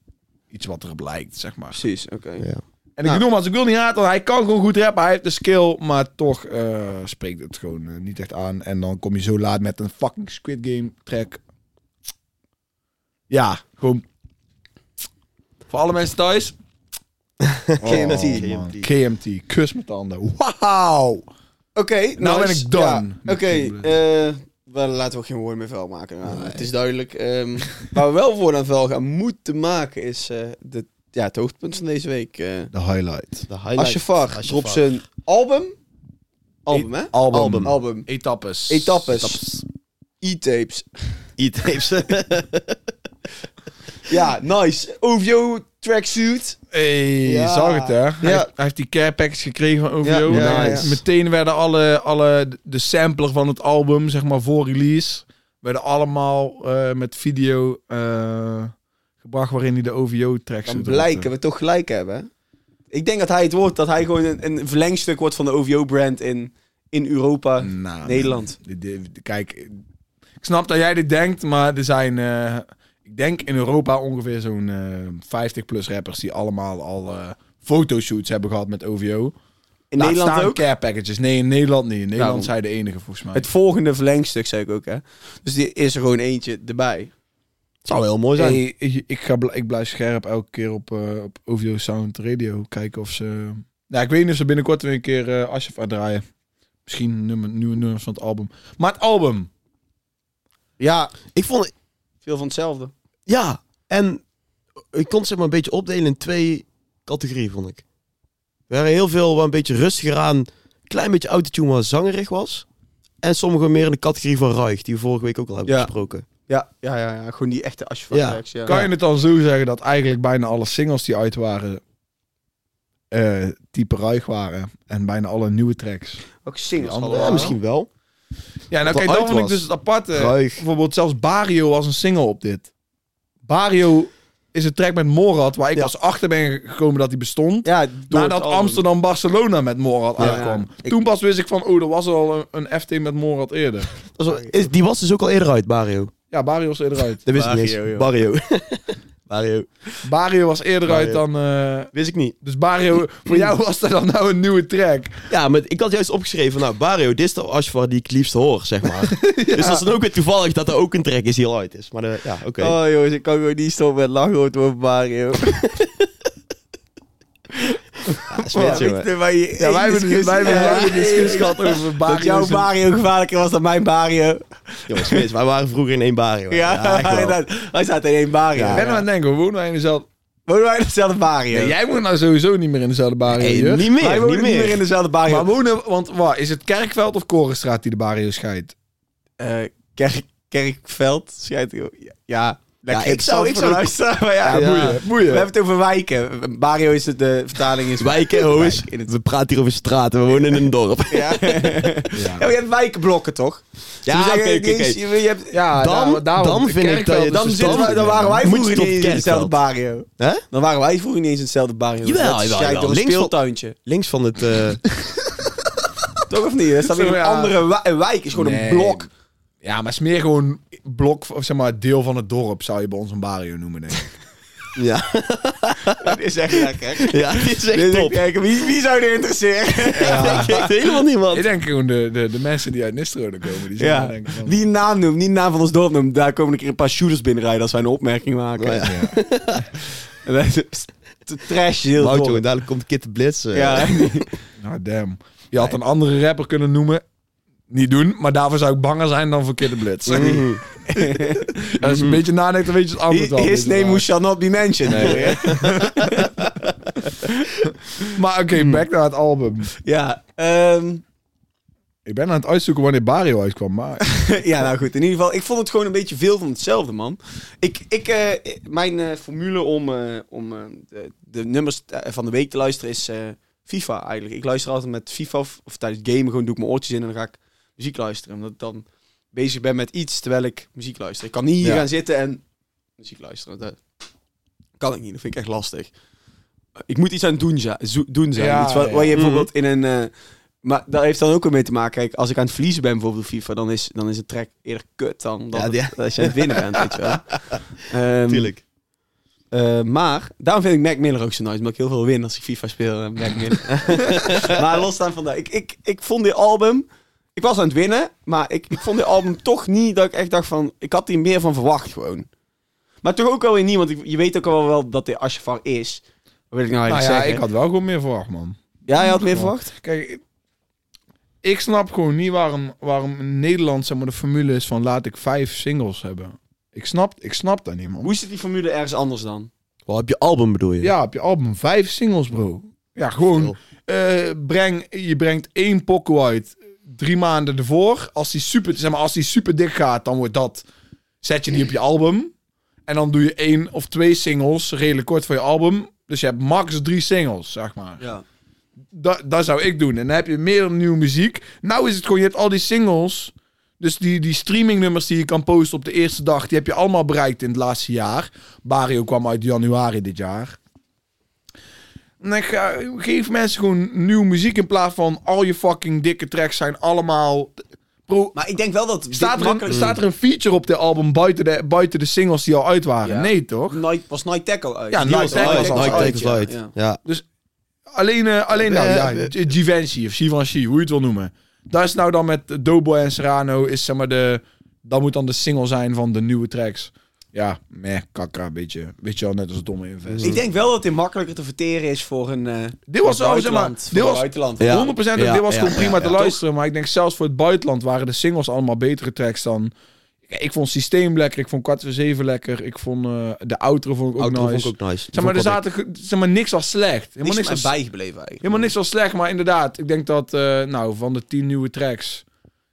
S1: iets wat erop lijkt, zeg maar.
S2: Precies, oké.
S1: En ik
S2: Nou.
S1: bedoel, als ik wil niet haten, want hij kan gewoon goed rappen, hij heeft de skill, maar toch eh, spreekt het gewoon eh, niet echt aan. En dan kom je zo laat met een fucking Squid Game track. Ja, gewoon... Voor alle mensen thuis. Oh,
S2: KMT.
S1: man. KMT, kus met de handen. Wauw!
S2: Oké,
S1: Nou ben
S2: nice.
S1: ik done
S2: Ja,
S1: met
S2: Oké,
S1: Kid Blitz.
S2: eh, wel, laten we ook geen woord meer vuil maken. Nou, Het is duidelijk. ehm, waar we wel voor aan vuil gaan moeten maken is eh, de, ja, het hoogtepunt van deze week. eh
S1: De highlight.
S3: De highlight.
S2: Ashafar
S3: Asjafar.
S2: dropt zijn album. Album, hè?
S1: E- Album.
S2: Album. album.
S1: Etappes.
S2: Etappes. E-tapes.
S3: Eat tapes.
S2: Ja, nice. OVO tracksuit.
S1: Hey, je
S2: Ja.
S1: zag het hè? Hij,
S2: Ja.
S1: heeft- hij heeft die care package gekregen van OVO.
S2: Ja, ja, ja, ja.
S1: Meteen werden alle, alle de sampler van het album, zeg maar, voor release, werden allemaal eh, met video eh, gebracht waarin hij de OVO-tracks
S2: Dan blijken
S1: we.
S2: we toch gelijk hebben. hè? Ik denk dat hij het wordt, dat hij gewoon een, een verlengstuk wordt van de OVO-brand in, in Europa.
S1: Mm. Nou,
S2: Nederland.
S1: Kijk, ik snap dat jij dit denkt, maar er zijn, eh, ik denk in Europa ongeveer zo'n eh, 50 plus rappers die allemaal al eh, fotoshoots hebben gehad met OVO.
S2: In
S1: Laat
S2: Nederland
S1: staan
S2: ook.
S1: care packages. Nee, in Nederland niet. In Nederland
S2: Daarom.
S1: zijn de enige volgens mij.
S2: Het volgende verlengstuk, zei ik ook, hè. Dus die is er gewoon eentje erbij.
S3: zou heel mooi zijn.
S1: Hey, ik, ik ga, bl- ik blijf scherp elke keer op, eh, op OVO Sound Radio kijken of ze... Nou, ik weet niet of ze binnenkort weer een keer eh Asjef uitdraaien. Misschien nummer, nieuwe nummers van het album. Maar het album...
S3: Ja, ik vond...
S2: Veel van hetzelfde.
S3: Ja, en ik kon het zeg maar een beetje opdelen in twee categorieën, vond ik. Er waren heel veel waar een beetje rustiger aan, klein beetje autotune waar zangerig was. En sommige meer in de categorie van ruig, die we vorige week ook al hebben
S2: Ja.
S3: besproken.
S2: Ja, ja, ja. ja. Gewoon die echte asje
S3: Ja.
S2: tracks, ja.
S1: Kan je het dan zo zeggen dat eigenlijk bijna alle singles die uit waren... eh, type ruig waren. En bijna alle nieuwe tracks.
S2: Ook singles
S1: Die andere-
S2: allemaal.
S3: Ja, misschien wel.
S1: Ja, nou
S3: Wat er
S1: kijk, dat
S3: uit
S1: vond ik
S3: was.
S1: dus het aparte.
S3: Ruig.
S1: Bijvoorbeeld zelfs Bario was een single op dit. Bario is een track met Morad, waar ik
S3: Ja.
S1: als pas achter ben gekomen dat die bestond.
S2: Ja, door het
S1: Nadat
S2: album.
S1: Amsterdam-Barcelona met Morad
S2: Ja,
S1: uitkwam.
S2: ja. Ik-
S1: Toen pas wist ik van, oh, er was al een, een FT met Morad eerder.
S3: Dat was wel- is- die was dus ook al eerder uit, Mario.
S1: Ja, Bario was eerder uit.
S3: Dat wist ik
S2: Barrio,
S3: niet.
S2: joh.
S3: eens. Barrio. Mario.
S1: Bario was eerder
S3: Bario.
S1: uit dan... eh,
S3: Wist ik niet.
S1: dus Bario, voor jou was dat dan nou een nieuwe track.
S3: Ja, maar ik had juist opgeschreven, van, nou, Barrio, dit is de Ashvar die ik het liefst hoor, zeg maar. Dus dat is dan ook weer toevallig dat er ook een track is die al uit is. Maar eh, ja, oké.
S2: Oh jongens, ik kan gewoon niet stoppen met lachen hoor, over Mario.
S3: Ja, smits,
S2: oh, Ja,
S3: jongen.
S2: weet je, wij-
S1: Ja, wij hebben dus- wij hebben een lange discussie gehad over Bario's
S2: Dat jouw
S1: en-
S2: Mario gevaarlijker was dan mijn Mario.
S3: Jongens, smits, wij waren vroeger in één Barrio.
S2: Ja,
S3: echt wel.
S2: inderdaad. Wij zaten in één Mario.
S1: ik ben er aan het denken, we wonen wij in dezelfde...
S2: Wonen wij in dezelfde Mario?
S1: Ja, jij woont nou sowieso niet meer in dezelfde Bario.
S3: Hey,
S1: Jur.
S3: niet
S2: wij
S3: meer,
S2: wonen
S3: niet meer.
S2: in dezelfde Mario.
S1: Maar wonen, want waar, is het Kerkveld of Korenstraat die de Bario scheidt?
S2: Eh, kerk, kerkveld, schijnt. Ja, ja, lekker
S3: ik
S2: interessant
S3: zou- ik
S2: voor de
S3: zou-
S2: luisteraar, maar ja,
S3: Ja,
S2: boeien,
S3: boeien,
S2: boeien. We hebben het over wijken. Mario is het, de vertaling is...
S3: Wijken, hoes.
S2: Wijk in het-
S3: We praten hier over straten, we wonen in een dorp.
S2: Ja. ja, maar je hebt wijkenblokken, toch?
S3: Ja,
S2: Ze zeggen,
S3: oké, oké,
S2: je-
S3: oké.
S2: Je, je hebt,
S1: Ja,
S3: Dan- dan vind ik dat je
S2: dan,
S3: dus
S2: zitten we, dan
S3: verstandig
S2: waren wij
S3: bent. Moet je
S2: vroeger
S3: tot
S2: niet eens in hetzelfde
S3: kerkveld.
S2: barrio.
S3: Hè?
S2: Dan waren wij vroeger niet eens in hetzelfde barrio.
S3: Jawel,
S2: Dat
S3: jawel,
S2: schijnt
S3: jawel.
S2: door een
S3: Links van-
S2: speeltuintje.
S3: Links van het... eh,
S2: Toch of niet? Dat staat weer
S1: Zo,
S2: een
S1: ja.
S2: andere wa- een wijk. is gewoon
S1: Nee.
S2: een blok.
S1: Ja, maar smeer gewoon blok, of zeg maar deel van het dorp zou je bij ons een Bario noemen, denk ik.
S3: ja.
S2: Dat is echt lekker.
S3: ja, dit is echt
S2: Dus ik
S3: top.
S2: denk, wie, wie zou er interesseren?
S3: Ik weet helemaal
S1: ik
S3: niemand.
S1: denk gewoon de, de, de mensen die uit Nistro komen, die zullen
S2: Ja,
S1: denken van...
S2: die naam noemt, die naam van ons dorp noemt, daar komen een keer een paar shooters binnenrijden als wij een opmerking maken.
S3: Oh ja.
S2: En dat is- pst, te trash heel
S3: Mout,
S2: dorp.
S3: jongen, dadelijk komt Kit de Blitz. eh.
S2: Ja,
S1: Nou, damn. Je had een andere rapper kunnen noemen. Niet doen, maar daarvoor zou ik banger zijn dan voor Kid de Blitz.
S3: Mhm.
S1: Als je een beetje nadenkt, dan weet je het antwoord al.
S2: his name who
S1: moest.
S2: shall not be mentioned.
S1: Maar oké, back naar het album.
S2: Ja, ehm,
S1: Ik ben aan het uitzoeken wanneer Bario uitkwam, maar...
S2: ja, nou goed. In ieder geval, ik vond het gewoon een beetje veel van hetzelfde, man. Ik, ik, eh, mijn eh, formule om, eh, om eh, de, de nummers eh, van de week te luisteren is eh, FIFA eigenlijk. Ik luister altijd met FIFA of, of tijdens gamen gewoon doe ik mijn oortjes in en dan ga ik muziek luisteren. Omdat ik dan bezig ben met iets terwijl ik muziek luister. Ik kan niet hier
S1: Ja.
S2: gaan zitten en muziek luisteren. Dat kan ik niet. Dat vind ik echt lastig. Ik moet iets aan doen, za- zo- doen zijn.
S1: Ja,
S2: iets wat,
S1: ja.
S2: waar je bijvoorbeeld in een... eh, maar daar heeft dan ook weer mee te maken. Kijk, als ik aan het verliezen ben bijvoorbeeld op FIFA, dan is, dan is het track eerder kut dan, dan
S3: Ja, die-
S2: het- als je aan het winnen bent, weet je wel. Ehm,
S3: Tuurlijk.
S2: eh, maar, daarom vind ik Mac Miller ook zo nice, omdat ik heel veel win als ik FIFA speel. en Mac Miller. maar losstaan van dat, ik, ik, ik vond dit album, ik was aan het winnen, maar ik, ik vond dit album toch niet dat ik echt dacht van, ik had hier meer van verwacht gewoon. Maar toch ook wel weer niet, want ik- je weet ook al wel dat dit Ashafar is. Wat wil ik nou
S1: Nou
S2: eigenlijk
S1: ja,
S2: zeggen?
S1: ik had wel gewoon meer verwacht, man.
S2: Ja, je had meer verwacht?
S1: Kijk, ik- ik snap gewoon niet waarom, waarom in Nederland zeg maar, de formule is van laat ik vijf singles hebben. Ik snap, ik snap dat niet, man.
S2: Hoe zit die formule ergens anders dan?
S3: Wat heb je album bedoel je?
S1: Ja, op je album vijf singles, bro. Ja, gewoon. eh, breng, je brengt één pokoe uit drie maanden ervoor. Als die, super, zeg maar, als die super dik gaat, dan wordt dat. Zet je die op je album. En dan doe je één of twee singles redelijk kort voor je album. Dus je hebt max drie singles, zeg maar.
S2: Ja.
S1: dat, dat zou ik doen. En dan heb je meer nieuwe muziek. Nou is het gewoon, je hebt al die singles. Dus die, die streamingnummers die je kan posten op de eerste dag, die heb je allemaal bereikt in het laatste jaar. Bario kwam uit januari dit jaar. En ik ga, geef mensen gewoon nieuwe muziek in plaats van al je fucking dikke tracks zijn allemaal. Bro,
S2: Maar ik denk wel dat
S1: staat
S2: dit
S1: er, een,
S2: makkelijk-
S1: staat er een feature op de album buiten de, buiten de singles die al uit waren?
S2: Ja.
S1: Nee toch?
S2: Mm. Night, was Night Tackle uit?
S1: Ja,
S2: Die
S1: Night
S2: was
S1: Tackle
S2: uit.
S1: was al
S3: Night
S1: uit,
S3: Takes Light.
S2: ja.
S3: Ja.
S1: Alleen, eh, alleen nou,
S3: Eh,
S1: ja,
S3: eh,
S1: G- Givenchy of Givenchy, hoe je het wil noemen. Daar is nou dan met Doughboy en Serrano, is zeg maar de... Dat moet dan de single zijn van de nieuwe tracks. Ja, meh, kakka, beetje, beetje al net als domme invest.
S2: Ik denk wel dat dit makkelijker te verteren is voor een... eh,
S1: Dit was
S2: voor
S1: wel, zeg maar,
S2: buitenland,
S1: dit
S2: voor
S1: was 100%
S2: buitenland.
S3: Ja.
S1: dat
S3: Ja,
S1: dit was
S3: ja,
S1: gewoon
S3: ja,
S1: prima
S3: ja,
S1: te
S3: toch?
S1: luisteren. Maar ik denk zelfs voor het buitenland waren de singles allemaal betere tracks dan... Ik ik vond Systeem lekker, ik vond Kwart voor Zeven lekker, ik vond eh, de outro vond ik ook
S3: Outro
S1: nice.
S3: vond ik ook nice.
S1: Zeg maar, er
S3: Die vond ik
S1: zaten ge- zeg maar, niks als slecht. Helemaal
S2: Niks
S1: niks
S2: is
S1: als
S2: mij bijgebleven eigenlijk.
S1: Helemaal niks als slecht, maar inderdaad. Ik denk dat eh, nou, van de tien nieuwe tracks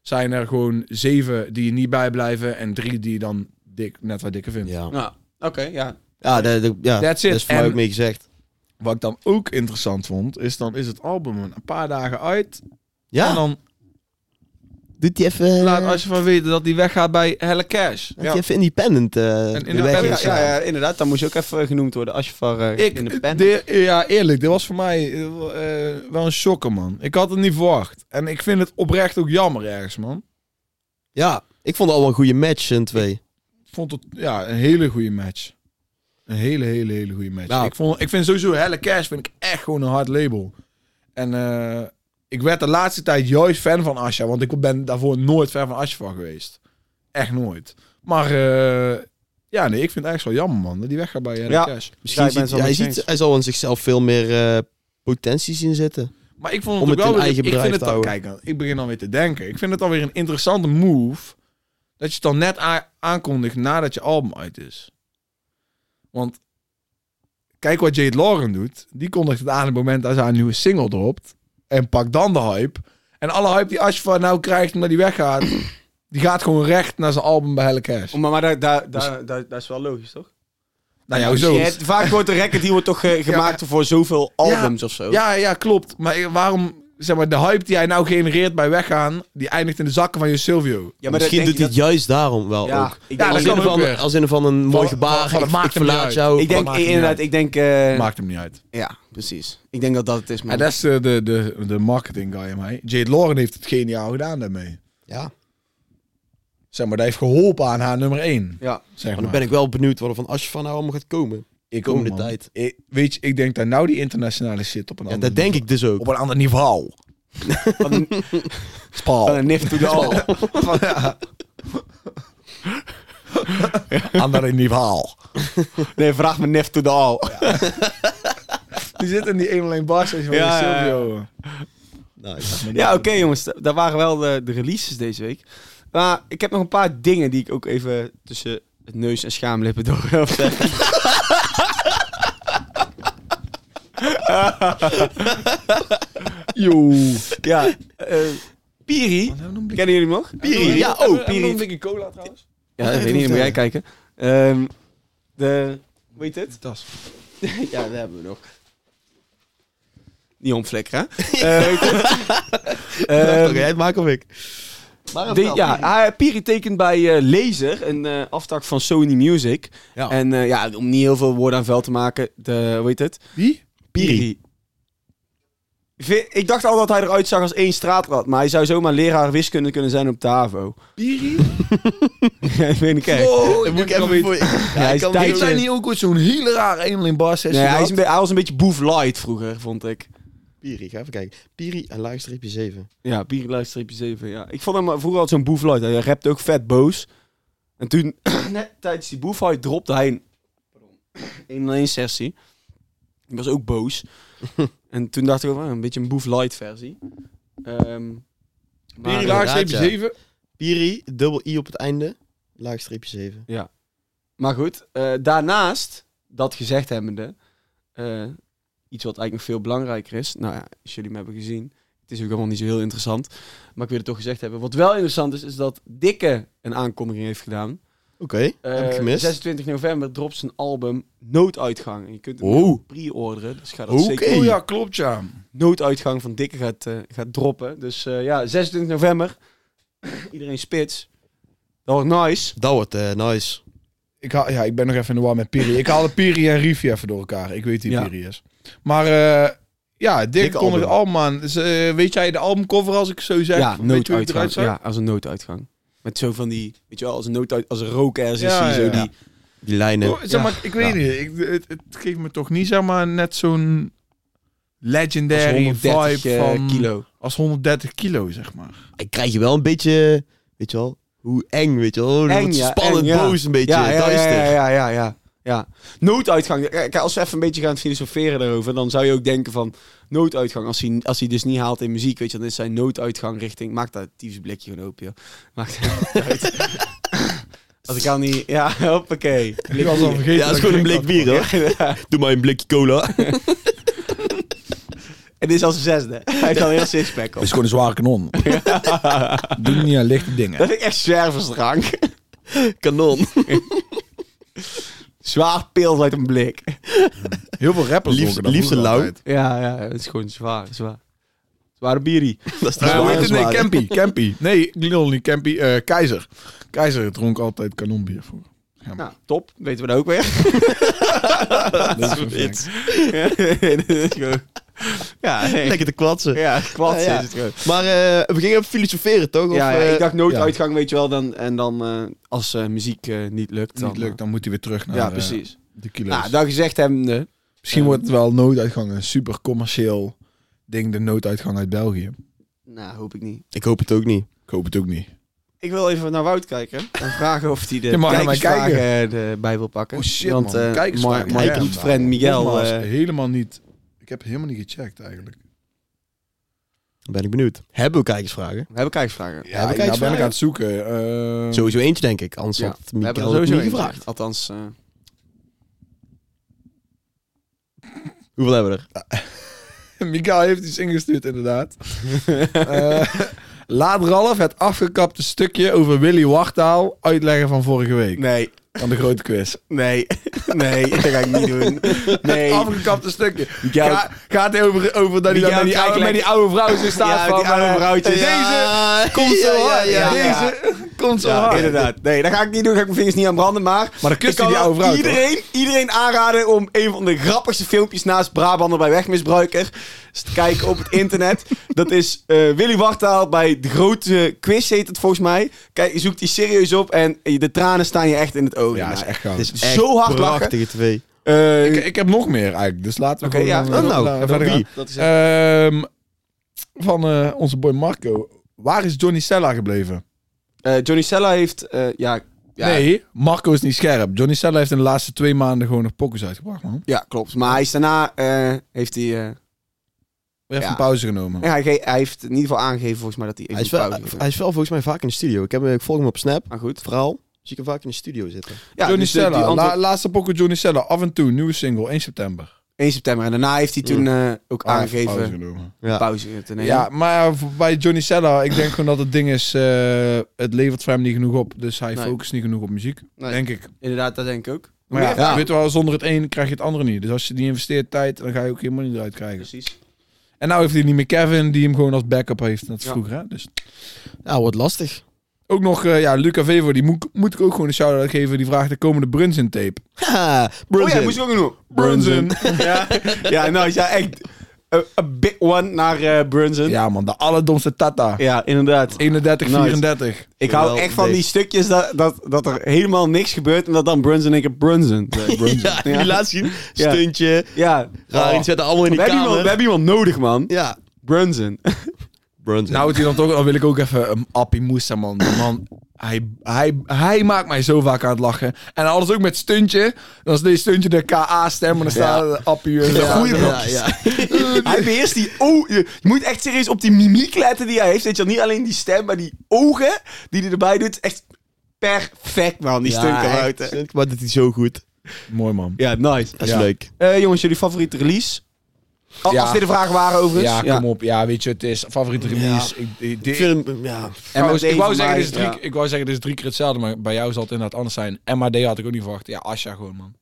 S1: zijn er gewoon zeven die je niet bijblijven. En drie die je dan dik, net wat dikker vindt.
S3: wel- Ja.
S2: Ja, oké, ja.
S3: Ja, dat, dat- ja,
S1: That's it.
S3: dat is voor mij
S1: En-
S3: ook mee gezegd.
S1: Wat ik dan ook interessant vond, is dan is het album een paar dagen uit.
S3: Ja,
S1: En dan
S3: doet hij even... eh,
S1: laat als je van weten dat die weggaat bij Helle Cash.
S3: Laat die even independent eh, de
S1: independent,
S3: weg
S2: Ja,
S3: in
S2: ja,
S3: slaan.
S2: ja, inderdaad, dan moest je ook even genoemd worden. Ashfar eh
S1: Ik,
S2: in de pen.
S1: de- ja, eerlijk, dit was voor mij eh, eh, wel een shocker, man. Ik had het niet verwacht. En ik vind het oprecht ook jammer ergens, man.
S3: Ja, ik vond het al wel een goede match, hun twee.
S1: vond het ja, een hele goede match. Een hele, hele, hele goede match.
S3: Nou.
S1: Ik, vond, ik vind sowieso Helle Cash vind ik echt gewoon een hard label. En eh, ik werd de laatste tijd juist fan van Asha. Want ik ben daarvoor nooit fan van Asha van geweest. Echt nooit. Maar eh, ja, nee, ik vind het eigenlijk wel jammer, man. dat Die weggaat bij Helle
S2: Ja.
S1: Cash.
S3: Misschien
S2: ik ben het
S3: ziet,
S2: wel
S3: hij,
S2: met je
S3: ziet, hij zal in zichzelf veel meer eh, potentie zien zitten.
S1: Maar ik vond het
S3: Om
S1: ook
S3: het
S1: wel
S3: in
S1: weer-
S3: eigen
S1: ik vind
S3: bedrijf
S1: het
S3: te
S1: dan,
S3: houden.
S1: Kijk, dan, ik begin dan weer te denken. Ik vind het alweer een interessante move. Dat je het dan net a- aankondigt nadat je album uit is. Want kijk wat Jade Lauren doet. Die kondigt het aan op het moment dat ze haar nieuwe single dropt. En pakt dan de hype. En alle hype die Ashfa nou krijgt omdat die weggaat. die gaat gewoon recht naar zijn album bij Helle Cash.
S2: Oh, Maar, maar daar, daar, daar, daar, dat is wel logisch, toch?
S1: nou ja, zo.
S2: Je hebt- vaak wordt de record die wordt toch eh, gemaakt voor zoveel albums of zo.
S1: Ja, ja, klopt. Maar waarom... Zeg maar, de hype die hij nou genereert bij weggaan... die eindigt in de zakken van je Silvio.
S2: Ja,
S3: maar
S2: dat
S3: Misschien
S2: denk
S3: doet
S2: ik
S3: hij juist daarom wel
S2: dat- ja,
S3: ook.
S2: Ik
S1: Ja,
S2: denk,
S1: dat
S3: Als
S2: ik
S1: kan
S3: in,
S2: denk,
S1: ook
S3: van,
S1: weer.
S3: als in van een
S1: Van- van-
S3: mooi gebaar,
S1: van-
S3: ik,
S1: het maakt
S3: ik
S1: hem niet
S3: verlaat
S1: uit.
S3: jou.
S2: ik denk
S1: maakt niet
S2: inderdaad,
S1: uit.
S2: ik denk... eh,
S1: Maakt hem niet uit.
S2: ja, precies. Ik denk dat dat het is,
S1: En
S2: man.
S1: dat is eh, de, de, de marketing guy aan mij. Jade Lauren heeft het geniaal gedaan daarmee.
S3: Ja,
S1: Zeg maar, dat heeft geholpen aan haar nummer 1.
S2: Ja.
S1: Zeg
S3: maar
S1: maar.
S3: dan ben ik wel benieuwd wat er van Asje van nou allemaal gaat komen.
S1: ik
S3: komende
S1: ook, man.
S3: tijd.
S1: Ik- weet je, ik denk dat nou die internationale shit op een
S3: Ja,
S1: ander
S3: dat denk ik dus ook.
S1: Op een ander niveau.
S2: Van een-
S1: Spaal.
S2: van een nif to the all.
S1: Van, ja. ander niveau.
S2: Nee, vraag me nif to the all.
S1: Die zit in die 1 alleen bars van
S2: Ja,
S1: de
S2: ja, ja.
S1: Silvio.
S3: Nou,
S2: Ja, oké jongens, da- daar waren wel de, de releases deze week. Maar ik heb nog een paar dingen die ik ook even tussen het neus en schaamlippen door wil zeggen.
S1: Yo.
S2: Ja, eh, Piri,
S1: Nou,
S2: kennen jullie hem nog? Piri, ja, oh, Piri.
S1: dikke cola trouwens.
S2: Ja, dat weet ik niet, moet jij kijken. Ehm, de, hoe heet het?
S1: Tas.
S2: Ja, dat hebben we nog. Niet omflikkeren, hè? Eh, hoe heet het? Ehm,
S3: jij het maken of ik?
S2: Die- eh, ja, hij- Piri tekent bij eh, Laser, een eh aftak van Sony Music.
S3: Ja.
S2: En eh, ja, om niet heel veel woorden aan vuil te maken, de, hoe heet het?
S1: Wie?
S2: Piri. Ve- Ik dacht al dat hij eruit zag als één straatrat, maar hij zou zomaar leraar wiskunde kunnen zijn op de HAVO.
S1: Piri?
S2: Ja, ik weet niet, kijk.
S1: Oh,
S3: Moet ik even voor... Ja,
S2: hij
S3: ik
S2: is
S3: kan
S2: tijd-
S1: Heeft zij
S2: Tijdje.
S1: niet ook ooit zo'n hele rare 1 alleen bar sessie
S2: Nee, hij, is
S1: gehad?
S2: een be- hij was een beetje boef light vroeger, vond ik.
S3: Piri, ga even kijken. Piri en laagstreepje 7.
S2: Ja, Piri luisterstreepje 7, ja. Ik vond hem eh, vroeger altijd zo'n boef light. Hij rapte ook vet boos. En toen, net tijdens die boef light, dropte hij een 1 sessie. Ik was ook boos. en toen dacht ik, oh, een beetje een boef light versie. Ehm, maar,
S1: Piri
S3: laag-
S1: laagstreepje
S3: inderdaad, ja.
S1: 7.
S3: Piri, dubbel i op het einde, laagstreepje 7.
S2: Maar goed, eh, daarnaast, dat gezegd hebbende, eh, iets wat eigenlijk nog veel belangrijker is. Nou ja, als jullie hem hebben gezien, het is ook allemaal niet zo heel interessant. Maar ik wil het toch gezegd hebben. Wat wel interessant is, is dat Dikke een aankondiging heeft gedaan.
S3: Oké, heb ik
S2: Eh,
S3: gemist.
S2: 26 november dropt zijn album Nooduitgang. En je kunt hem
S3: Oh.
S2: pre-orderen, dus ga dat
S3: Oké.
S2: zeker
S1: Oh ja, klopt ja.
S2: Nooduitgang van Dikke gaat, eh, gaat droppen. Dus eh, ja, 26 november. Iedereen spits. Dat wordt nice.
S3: Dat wordt eh, nice.
S1: Ik haal, ja, ik ben nog even in de war met Piri. Ik haalde Piri en Rivi even door elkaar. Ik weet wie
S2: Ja.
S1: Piri is. Maar eh, ja, Dick
S3: Dik
S1: kon het
S3: album.
S1: album aan. Dus, eh, weet jij de albumcover als ik zo zeg?
S2: ja,
S1: Weet je hoe het
S2: nooduitgang.
S1: eruit zag?
S2: Ja, als een nooduitgang. Met zo van die, weet je wel, als een nooduit, als een rookers is
S1: Ja,
S2: die,
S1: ja,
S2: zo
S1: ja.
S2: die.
S3: Die lijnen.
S1: Oh, zeg maar, ik weet niet. Ik, het, het geeft me toch niet zeg maar net zo'n legendary
S2: als 130
S3: eh,
S1: vibe van
S2: eh, kilo.
S1: als 130 kilo zeg maar.
S3: Ik krijg je wel een beetje, weet je wel, hoe eng, weet je wel. Hoe
S2: Eng,
S3: wordt
S2: ja,
S3: spannend,
S2: eng, ja.
S3: boos, een beetje
S2: ja, ja,
S3: duister.
S2: ja, ja, ja, ja, ja. Nooduitgang. Kijk, als we even een beetje gaan filosoferen daarover, dan zou je ook denken van nooduitgang. Als hij, als hij dus niet haalt in muziek, weet je, dan is zijn nooduitgang richting. Maak dat tyfus blikje gewoon open, joh. Maakt dat niet uit. Als ik al niet. Ja, hoppakee.
S1: Ik was al vergeten.
S3: Ja, het is gewoon een blik bier, hoor.
S2: Ja.
S3: Doe maar een blikje cola.
S2: En dit is als een zesde. Hij kan heel sixpack op.
S1: is gewoon een zware kanon. Doe niet aan lichte dingen.
S2: Dat vind ik echt zwerversdrank.
S3: Kanon.
S2: Zwaar pils uit een blik.
S1: Heel veel rappers
S3: Liefst-
S1: dronken dat
S3: liefst
S1: vroeger
S3: lauw.
S1: altijd.
S2: Ja, ja, het is gewoon zwaar, zwaar. Zware bierie.
S3: Dat is de
S1: Eh, hoe
S3: zware
S1: heet het? Nee,
S3: zwaar.
S1: Campy. Campy. Nee, Lil niet Campy. eh, Keizer. Keizer dronk altijd kanonbier vroeger.
S2: Nou, top. Weten we dat ook weer.
S1: Dat
S3: is
S1: perfect.
S2: ja, dit is gewoon- ja, nee.
S3: Lekker te kwatsen.
S2: ja, kwats
S3: Ja, ja.
S2: is het gewoon.
S3: Maar eh, we gingen even filosoferen, toch?
S2: Ja,
S3: of,
S2: ja,
S3: eh,
S2: ik dacht
S1: ja.
S2: nooduitgang, weet je wel. Dan, en dan eh, als eh, muziek eh, niet lukt. Dan,
S1: Niet lukt, dan moet hij weer terug
S2: eh,
S1: naar
S2: ja,
S1: eh,
S2: precies.
S1: de kilo's.
S2: Nou, dat gezegd hebbende.
S1: Misschien wordt het wel nooduitgang een super commercieel ding, de nooduitgang uit België.
S2: Nou, hoop ik niet.
S3: Ik hoop het ook niet.
S1: Ik hoop het ook niet.
S2: Ik wil even naar Wout kijken. En vragen of hij de
S1: Je mag naar mij
S2: kijkersvragen eh, erbij wil pakken.
S1: Oh shit,
S2: Want,
S1: man.
S2: eh,
S1: Kijk eens
S2: my,
S1: maar.
S2: my
S1: Ja,
S2: good
S1: ja.
S2: friend Miguel...
S1: Nogmaals,
S2: eh,
S1: helemaal niet. Ik heb helemaal niet gecheckt eigenlijk.
S3: Dan ben ik benieuwd. Hebben we kijkersvragen?
S2: we hebben kijkersvragen.
S1: Ja, ik
S3: kijkersvragen?
S1: nou ben ik aan het zoeken. eh,
S3: Sowieso eentje, denk ik. Anders
S2: Ja,
S3: had
S2: we hebben er
S3: Mikael het
S2: sowieso
S3: niet
S2: eentje.
S3: gevraagd.
S2: Althans, eh,
S3: Hoeveel hebben we er?
S1: Mikael heeft iets ingestuurd, inderdaad. Eh, laat Ralf het afgekapte stukje over Willy Wartaal uitleggen van vorige week.
S2: nee,
S1: Van de grote quiz.
S2: nee, nee, dat ga ik niet doen. Nee.
S1: Afgekapte stukje.
S2: Mikael-
S1: Ga, gaat hij over, over dat hij
S2: Mikael
S1: dan met die, oude,
S2: kijkt
S1: met die oude vrouw zo staat
S2: Ja,
S1: van...
S2: die oude
S1: eh,
S2: vrouwtje.
S1: Deze
S3: Ja,
S1: komt zo
S3: ja, ja,
S1: hard.
S3: ja,
S2: ja.
S1: Deze komt zo
S2: Ja,
S1: hard.
S2: inderdaad. Nee, dat ga ik niet doen. Ga ik mijn vingers niet aan branden. Maar,
S1: Maar dan kust
S2: ik
S1: hij die
S2: kan wel
S1: oude vrouw, toch?
S2: iedereen, iedereen aanraden om een van de grappigste filmpjes naast Brabander bij Wegmisbruiker eens te kijken op het internet. Dat is eh, Willy Wartaal bij De Grote Quiz heet het volgens mij. Kijk, je zoekt die serieus op en de tranen staan je echt in het oog.
S1: Ja, is echt goud.
S3: Het is
S2: Zo
S3: echt
S2: hard lachen.
S3: prachtige twee.
S2: Eh,
S1: Ik, ik heb nog meer eigenlijk, dus laten we
S2: Oké,
S1: gewoon...
S2: ja.
S1: eh,
S3: Oh, nou,
S1: laten we
S3: van
S1: verder gaan.
S3: wie?
S2: dat is
S1: Ehm, van eh, onze boy Marco. Waar is Johnny Sella gebleven?
S2: Eh, Johnny Sella heeft, eh, ja, ja,
S1: Nee, Marco is niet scherp. Johnny Sella heeft in de laatste twee maanden gewoon nog pokus uitgebracht, man.
S2: ja, klopt. Maar hij is daarna, eh, heeft hij, eh,
S1: Weer even
S2: Ja.
S1: een pauze genomen.
S2: ja, hij, ge- hij heeft in ieder geval aangegeven volgens mij dat hij
S3: Hij
S2: even
S3: is, wel,
S2: pauze heeft.
S3: hij is wel volgens mij vaak in de studio. Ik, heb, hem- ik volg hem op Snap.
S2: Maar goed.
S3: Verhaal. Zie ik hem vaak in de studio zitten.
S2: Ja,
S1: Johnny
S2: dus de- die
S1: Sella,
S2: antwoord-
S1: la- laatste pokus Johnny Sella. Af en toe, nieuwe single, 1 september.
S2: 1 september. En daarna heeft hij toen
S3: Mm.
S2: eh, ook
S3: Oh,
S1: Ah, even
S2: aangegeven
S1: pauze
S2: pauze,
S1: genomen.
S2: te nemen.
S1: Ja, maar v- bij Johnny Sella, ik denk gewoon dat het ding is, eh, het levert voor hem niet genoeg op. Dus hij
S2: Nee.
S1: focust niet genoeg op muziek,
S2: Nee.
S1: denk ik.
S2: Inderdaad, dat denk ik ook.
S1: Maar ja,
S2: Ja.
S1: weet je wel, zonder het een krijg je het andere niet. Dus als je die investeert tijd, dan ga je ook geen money eruit krijgen.
S2: Precies.
S1: En nou heeft hij niet meer Kevin, die hem gewoon als backup heeft. Dat is
S2: Ja.
S1: vroeger, hè? Dus
S3: Nou, wordt lastig.
S1: ook nog, eh, ja, Luca Vevo, die moet, moet ik ook gewoon een shout-out geven. Die vraagt de komende Brunson tape.
S3: Haha,
S2: Oh ja,
S3: Brunson.
S2: moest je ook genoeg.
S1: Brunson.
S2: ja, ja, nou, ja, echt a big one naar eh, Brunson. Ja.
S1: Ja man, de allerdomste Tata.
S3: Oh,
S2: inderdaad.
S1: 31,
S2: Nice.
S1: 34.
S2: Ik hou
S3: Wel
S2: echt van
S3: dik.
S2: die stukjes dat, dat, dat er helemaal niks gebeurt en dat dan Brunson en ik Brunson. zegt.
S3: ja, die laat zien.
S2: Ja.
S3: Stuntje.
S2: ja.
S3: Raar, die zetten allemaal in
S2: We hebben,
S3: die kamer.
S2: iemand, we hebben iemand nodig, man.
S3: Ja.
S2: Brunson.
S3: Brunson.
S1: Nou, het hier dan toch, dan wil ik ook even een Appie Moussa, man. Die Man, hij, hij, hij maakt mij zo vaak aan het lachen. En alles ook met stuntje. Dan is deze stuntje de KA-stem en dan staat eh, Appie... eh,
S3: ja,
S1: goeie
S3: ja,
S1: blokjes.
S3: ja.
S2: Hij beheerst die ogen. Je moet echt serieus op die mimiek letten die hij heeft. Weet je wel, niet alleen die stem, maar die ogen die hij erbij doet. Echt perfect, man, die
S3: Ja,
S2: stunken
S3: echt.
S2: buiten.
S3: Stunt- Maar dit is zo goed.
S1: Mooi man.
S2: Ja, nice.
S3: Dat is
S1: Ja.
S3: leuk.
S2: Eh, jongens, jullie favoriete release? Al-
S1: Ja.
S2: Als dit de vragen waren, overigens.
S1: Ja, kom op. Ja, weet je, het is favoriete release. Ik, ik,
S3: Ik vind hem, ja.
S2: En
S1: trouwens, ik, wou
S2: van
S1: zeggen, dit
S2: mij,
S1: is drie,
S2: ja.
S1: ik wou zeggen, dit is drie keer hetzelfde, maar bij jou zal het inderdaad anders zijn. MAD had ik ook niet verwacht. Ja, Asja gewoon, man.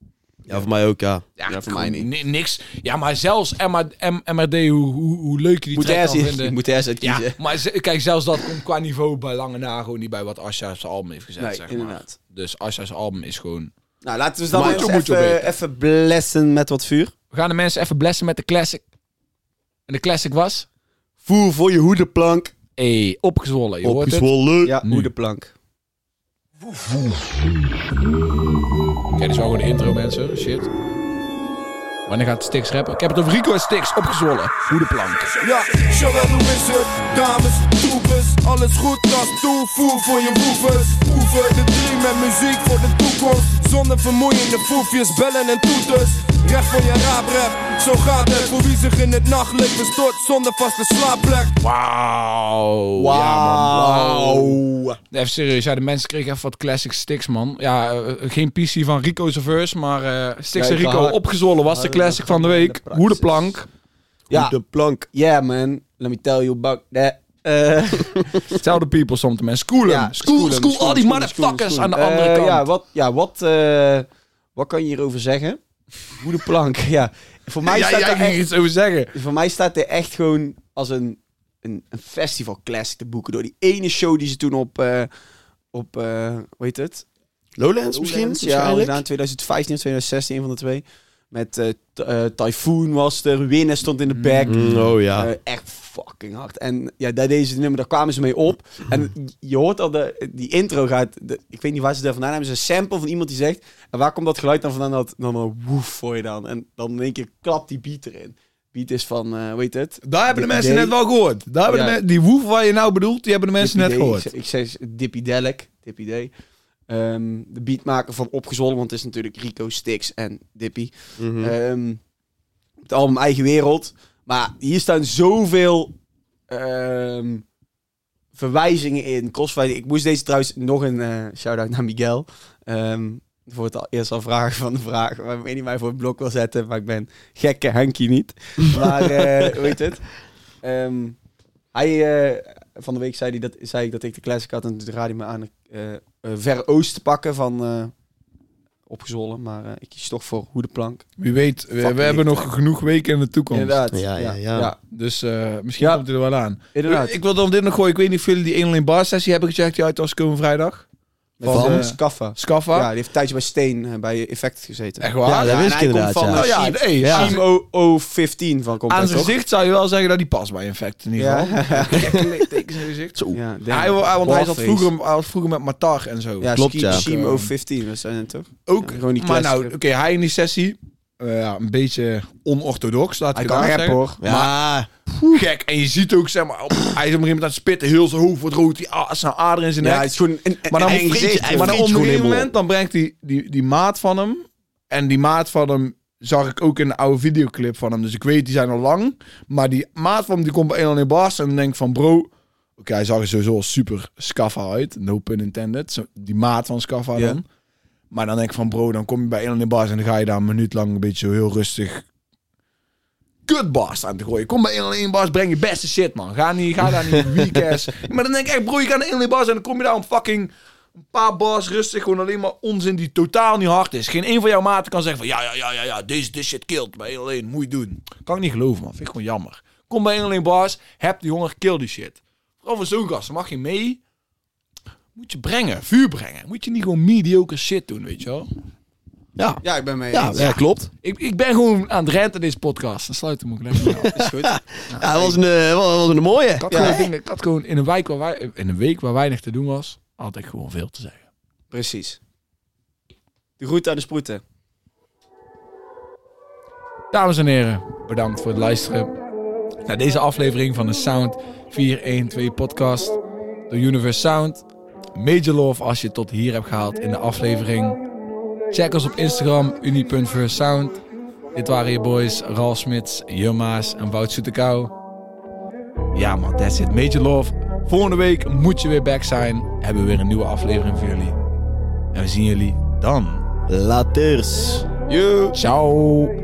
S3: Ja, voor mij ook, ja.
S1: Ja,
S2: Ja, voor
S1: gewoon
S2: mij niet.
S1: ni- Niks. Ja, maar zelfs Emma, M- MRD, hoe, hoe, hoe leuk je die
S2: Moet
S1: track
S2: jij
S1: kan
S2: eens,
S1: vinden.
S2: ik moet eh. jij eens
S1: ja,
S2: uitkiezen.
S1: maar ze- kijk, zelfs dat komt qua niveau bij lange na gewoon niet bij wat Asja op zijn album heeft gezet,
S2: nee,
S1: zeg maar.
S2: inderdaad.
S1: Dus Asja's album is gewoon...
S2: Nou, laten we ze dan
S1: Moet je-
S2: eens
S1: moet je
S2: even, eh,
S1: weten.
S2: even blessen met wat vuur.
S1: We gaan de mensen even blessen met de classic. En de classic was...
S2: Voer voor je hoedenplank.
S1: Hey, opgezwollen, je hoort het.
S3: Opgezwollen.
S2: Ja,
S1: Nu.
S2: hoedenplank.
S1: Oké, dit is wel gewoon de intro, mensen. Shit. Wanneer gaat Stix rappen? Ik heb het over Rico en Stix, opgezwollen. Hoe de plank.
S5: Ja, Joël, hoe is het? Dames, troepers, alles goed als toevoer voor je boevers. Oeven de dream met muziek voor de toekomst. Zonder vermoeiende foefjes, bellen en toeters. Recht voor je raaprep, zo gaat het. Voor wie zich in het nachtlicht verstort zonder vaste slaapplek.
S1: Wauw. Ja, man.
S2: Wauw.
S1: Even serieus, ja, de mensen kregen even wat classic sticks, man. Ja, eh, geen PC van Rico's verse, maar eh Sticks en
S2: Kijk,
S1: Rico
S2: haar-
S1: opgezwollen was de
S2: haar-
S1: classic van de week.
S2: de
S1: Hoe de
S2: praxis.
S1: plank.
S2: Ja,
S3: De plank.
S2: yeah man. Let me tell you about that. Eh,
S1: Tell the people something, man. School
S2: ja,
S1: hem. School, school,
S2: hem,
S1: all
S2: hem,
S1: die
S2: school hem,
S1: motherfuckers
S2: school hem.
S1: aan de andere
S2: Eh,
S1: kant.
S2: Ja, wat, ja, wat, eh, wat kan je hierover zeggen? Hoedenplank, ja. Voor mij,
S6: Ja,
S2: staat
S6: jij
S2: daar
S6: ging er
S2: echt,
S6: iets over zeggen.
S2: voor mij staat er echt gewoon als een, een, een festival classic te boeken. Door die ene show die ze toen op, eh, op eh, hoe heet het?
S3: Lowlands misschien?
S2: Misschien, ja,
S3: waarschijnlijk?
S2: in 2015 of 2016, een van de twee. Met eh, t- eh, Typhoon was er, Winner stond in de back.
S3: Mm, oh ja.
S2: Eh, echt fucking hard. En ja, daar deze nummer, daar kwamen ze mee op. En je hoort al, de, die intro gaat... de- ik weet niet waar ze daar vandaan hebben. Het is een sample van iemand die zegt... En waar komt dat geluid dan vandaan? Dat, dan een woef voor je dan. En dan in één keer klapt die beat erin. Beat is van, eh weet het?
S6: Daar hebben de
S2: Dit
S6: mensen
S2: idee-
S6: net wel gehoord. Daar hebben
S2: Ja.
S6: de men- die woef waar je nou bedoelt, die hebben de mensen net
S2: Dippy D.
S6: gehoord.
S2: Ik zei, ik zei Dippy Delic, Dippy D. Ehm, de beatmaker van Opgezwollen, want het is natuurlijk Rico, Stix en Dippy.
S3: Mhm.
S2: Ehm, het album Eigen Wereld. Maar hier staan zoveel ehm, verwijzingen in. Crossfire. Ik moest deze trouwens nog een eh shout-out naar Miguel. Ehm, voor het al, eerst al vragen van de vraag. Maar ik weet niet waar hij voor het blok wil zetten. Maar ik ben gekke Henkie niet. Maar eh, hoe heet het? Ehm, hij, eh, van de week zei, hij dat, zei ik dat ik de classic had. En toen raadde hij me aan eh eh, Ver Oost te pakken van... eh, Opgezwollen, maar eh, ik kies toch voor hoe de plank.
S6: Wie weet, we,
S2: Fucking
S6: we hebben nog genoeg weken in de toekomst.
S2: Inderdaad.
S3: Ja, ja, ja.
S6: Dus eh, misschien
S2: Ja.
S6: komt hij er wel aan.
S2: Inderdaad.
S6: Ik wil dan dit nog gooien. Ik weet niet of jullie die 1 in bar sessie hebben gecheckt die uit was komen vrijdag.
S2: Van,
S6: Van,
S2: eh,
S6: eh,
S2: Scaffa.
S6: Scaffa.
S2: Ja, die heeft een tijdje bij Steen eh, bij Effect gezeten.
S6: Echt waar?
S3: Ja, dat wist
S2: en
S3: ik
S2: hij
S3: inderdaad,
S2: komt van
S3: ja.
S6: Oh
S2: eh,
S6: ja,
S2: Sheep-
S6: nee,
S3: Ja.
S6: aan
S2: Team
S6: zijn-
S2: O- O15 van komt
S6: Aan
S2: hij
S6: zijn
S2: toch?
S6: gezicht zou je wel zeggen dat die past bij Infect in ieder
S2: Ja.
S6: geval. Gekke littekens in zijn gezicht. Zo.
S2: Ja, denk
S6: Ja, hij,
S2: ik.
S6: wa- want hij zat
S2: Blackface.
S6: vroeger, hij was vroeger met Matar en zo.
S2: Ja,
S3: Klopt,
S2: Ski-
S3: ja.
S2: Sheep O15, dat zijn het toch?
S6: ook.
S2: ja, gewoon die
S6: maar nou, oké,
S2: klassieker.
S6: hij in die sessie. eh, ja, een beetje onorthodox, laat ik
S2: Hij
S6: het
S2: kan
S6: daar
S2: rappen
S6: zeggen.
S2: hoor.
S3: Ja,
S6: Gek. En je ziet ook, zeg maar, op- hij is op een gegeven moment aan het spitten. Heel zijn hoofd wordt rood. Die a- zijn aderen in zijn
S2: Ja,
S6: nek.
S2: het is gewoon een, een
S6: Maar dan,
S2: eng
S6: vreet je-
S2: gezicht, joh.
S6: maar dan op een
S3: gewoon
S6: gegeven
S3: helemaal
S6: moment dan brengt die, die, die maat van hem. En die maat van hem zag ik ook in een oude videoclip van hem. Dus ik weet, die zijn al lang. Maar die maat van hem die komt bij 1 in Bars. En dan denk ik van bro. Oké, hij zag er sowieso al super Scaffa uit. No pun intended. Zo- Die maat van Scaffa
S2: Ja.
S6: dan. Maar dan denk ik van bro, dan kom je bij 1 in Bars. En dan ga je daar een minuut lang een beetje zo heel rustig. Kutbars aan te gooien. Kom bij 1 1 bars, breng je beste shit, man. Ga, niet, ga daar niet weekends. maar dan denk ik echt, bro, je gaat naar 1 1 bars en dan kom je daar een fucking een paar bars rustig, gewoon alleen maar onzin die totaal niet hard is. Geen een van jouw maten kan zeggen van ja, ja, ja, ja, ja deze, deze shit killt bij alleen, moet je doen. Kan ik niet geloven, man. Vind ik gewoon jammer. Kom bij alleen bars, heb die honger, kill die shit. Vooral voor zo'n gast, dan mag je mee. Moet je brengen, vuur brengen. Moet je niet gewoon mediocre shit doen, weet je wel.
S3: ja.
S2: Ja, ik ben mee
S3: Ja,
S2: eens.
S3: ja, klopt.
S1: Ik, ik ben gewoon aan het renten in deze podcast. Dan sluit hem ook lekker af.
S2: Is goed.
S3: Ja, dat was een, eh, was een mooie.
S1: Ik had,
S2: Ja.
S1: gewoon, dingen- ik had gewoon in een, wijk waar wij, in een week waar weinig te doen was, had ik gewoon veel te zeggen.
S2: Precies. De route aan de sproeten.
S1: Dames en heren, bedankt voor het luisteren naar deze aflevering van de Sound 412 podcast door Universe Sound. Major love als je het tot hier hebt gehaald in de aflevering. Check ons op Instagram, uni.versound. Dit waren je boys Ralf Smits, Jumma's en Wout Soetekau. Ja man, that's it. Major love. Volgende week moet je weer back zijn. Hebben we weer een nieuwe aflevering voor jullie. En we zien jullie dan.
S3: Laters.
S1: Ciao.